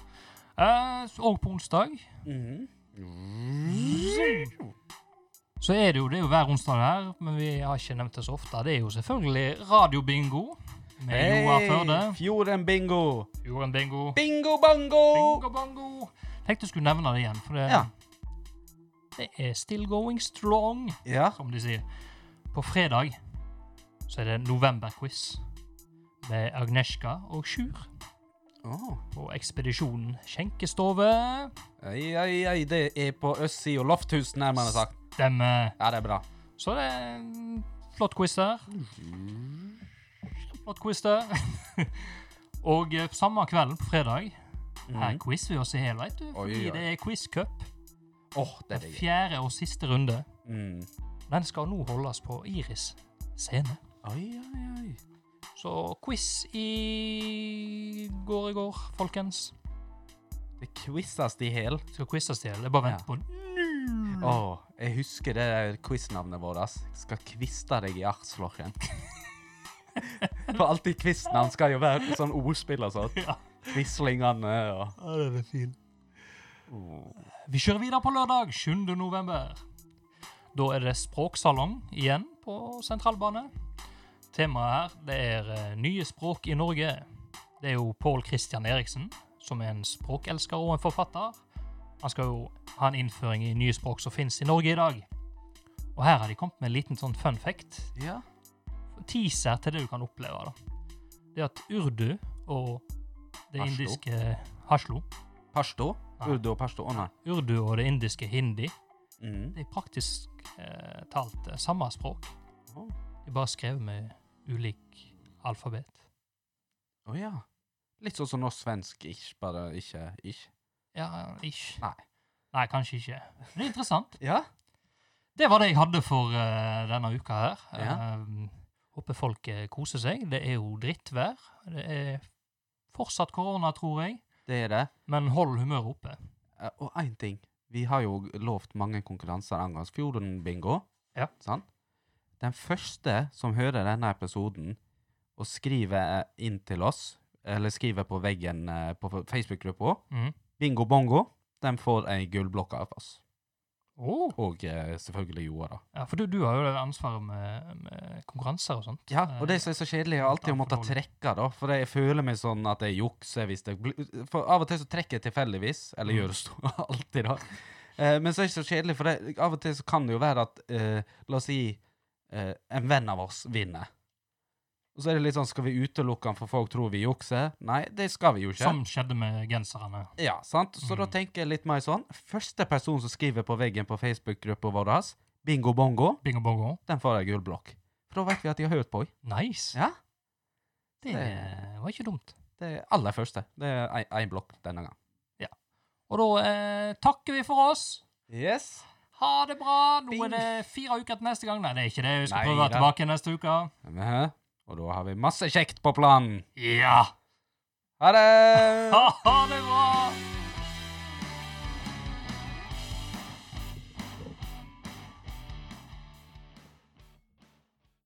B: Eh, så- og på onsdag
C: Mhm.
B: så er det jo det er jo hver onsdag her, men vi har ikke nevnt det så ofte. Det er jo selvfølgelig radiobingo med Joar Førde.
C: Fjorden bingo!
B: Fjorden bingo.
C: Bingo bango!
B: Bingo bongo. Tenkte jeg skulle nevne det igjen, for det,
C: Ja.
B: det er still going strong.
C: Ja.
B: som de sier. På fredag så er det novemberquiz med Agnieszka og Sjur
C: Åh.
B: på Ekspedisjonen skjenkestove.
C: Ei, ei, ei, det er på østsida, Lofthus, nærmere sagt.
B: Dem, eh,
C: Ja, det er bra.
B: så det er en flott quiz der. Flott quiz der. (laughs) og eh, samme kvelden på fredag her quiz vi oss i helhet, du,
C: Mhm. Oi,
B: fordi
C: oi.
B: det er quizcup.
C: Åh, det er det gøy.
B: Fjerde og siste runde.
C: Mm.
B: Den skal nå holdes på Iris scene.
C: Oi, oi, oi.
B: Så quiz i går i går, folkens.
C: Det quizzes i hel.
B: Skal quizes til. Jeg bare venter
C: Ja.
B: på den. Mm.
C: Åh, jeg husker det der quiznavnet vårt. ass. Skal kviste deg i artslokken. (laughs) For alltid quiznavn skal jo være sånn ordspill og sånt.
B: (laughs) Ja.
C: Quislingene og
B: Ja, den er fin. Oh. Vi kjører videre på lørdag 7. november. Da er det språksalong igjen på sentralbane. Temaet her det er eh, nye språk i Norge. Det er jo Pål Christian Eriksen, som er en språkelsker og en forfatter. Han skal jo ha en innføring i nye språk som finnes i Norge i dag. Og her har de kommet med en liten sånn fun fact.
C: Ja.
B: teaser til det du kan oppleve. da. Det er at urdu og det
C: Pashto.
B: indiske haslo.
C: Pashto?
B: Nei.
C: Urdu og pashto? Å nei.
B: Urdu og det indiske hindi.
C: Mm.
B: Det er praktisk eh, talt eh, samme språk.
C: Å.
B: De bare skrev med ulik alfabet.
C: Å ja. Litt sånn som norsk-svensk, ish, bare ikke ish.
B: Ja, ish.
C: Nei.
B: Nei, kanskje ikke. Men Det er interessant.
C: Ja?
B: Det var det jeg hadde for eh, denne uka her.
C: Ja.
B: Eh, håper folk eh, koser seg. Det er jo drittvær. Det er fortsatt korona, tror jeg.
C: Det er det.
B: Men hold humøret oppe.
C: Eh, Og én ting. Vi har jo lovt mange konkurranser angående Fjorden-bingo.
B: Ja.
C: Sant? Den første som hører denne episoden og skriver eh, inn til oss, eller skriver på veggen eh, på Facebook-gruppa,
B: Mm.
C: bingo bongo, den får ei gullblokk av oss.
B: Oh.
C: Og eh, selvfølgelig Joa, da.
B: Ja, for du, du har jo det ansvaret med, med konkurranser og sånt.
C: Ja, og det som er så kjedelig, er alltid å måtte
B: altfor dårlig.
C: trekke, da. For jeg føler meg sånn at jeg jukser hvis det blir For av og til så trekker jeg tilfeldigvis, eller
B: Mm.
C: gjør det stort (laughs) alltid, da. Eh, men så er det så kjedelig, for det, av og til så kan det jo være at eh, La oss si eh, en venn av oss vinner. Og så er det litt sånn Skal vi utelukke han for folk tror vi jukser? Nei, det skal vi jo ikke.
B: Som skjedde med genserne.
C: Ja, sant? Så da
B: Mm.
C: tenker jeg litt mer sånn Første person som skriver på veggen på Facebook-gruppa vår, bingo bongo,
B: Bingo bongo.
C: den får ei gul blokk. For da vet vi at de har hørt på.
B: Nice.
C: Ja?
B: Det
C: det-
B: var ikke dumt.
C: Det er aller første. Det er én blokk denne gang.
B: Og da eh, takker vi for oss.
C: Yes.
B: Ha det bra. Nå
C: Bing.
B: er det fire uker til neste gang. Nei, det er ikke det. Vi skal
C: Nei
B: prøve å være
C: da.
B: tilbake neste uke.
C: Og da har vi masse kjekt på planen.
B: Ja.
C: Ha det!
B: Ha, ha det bra.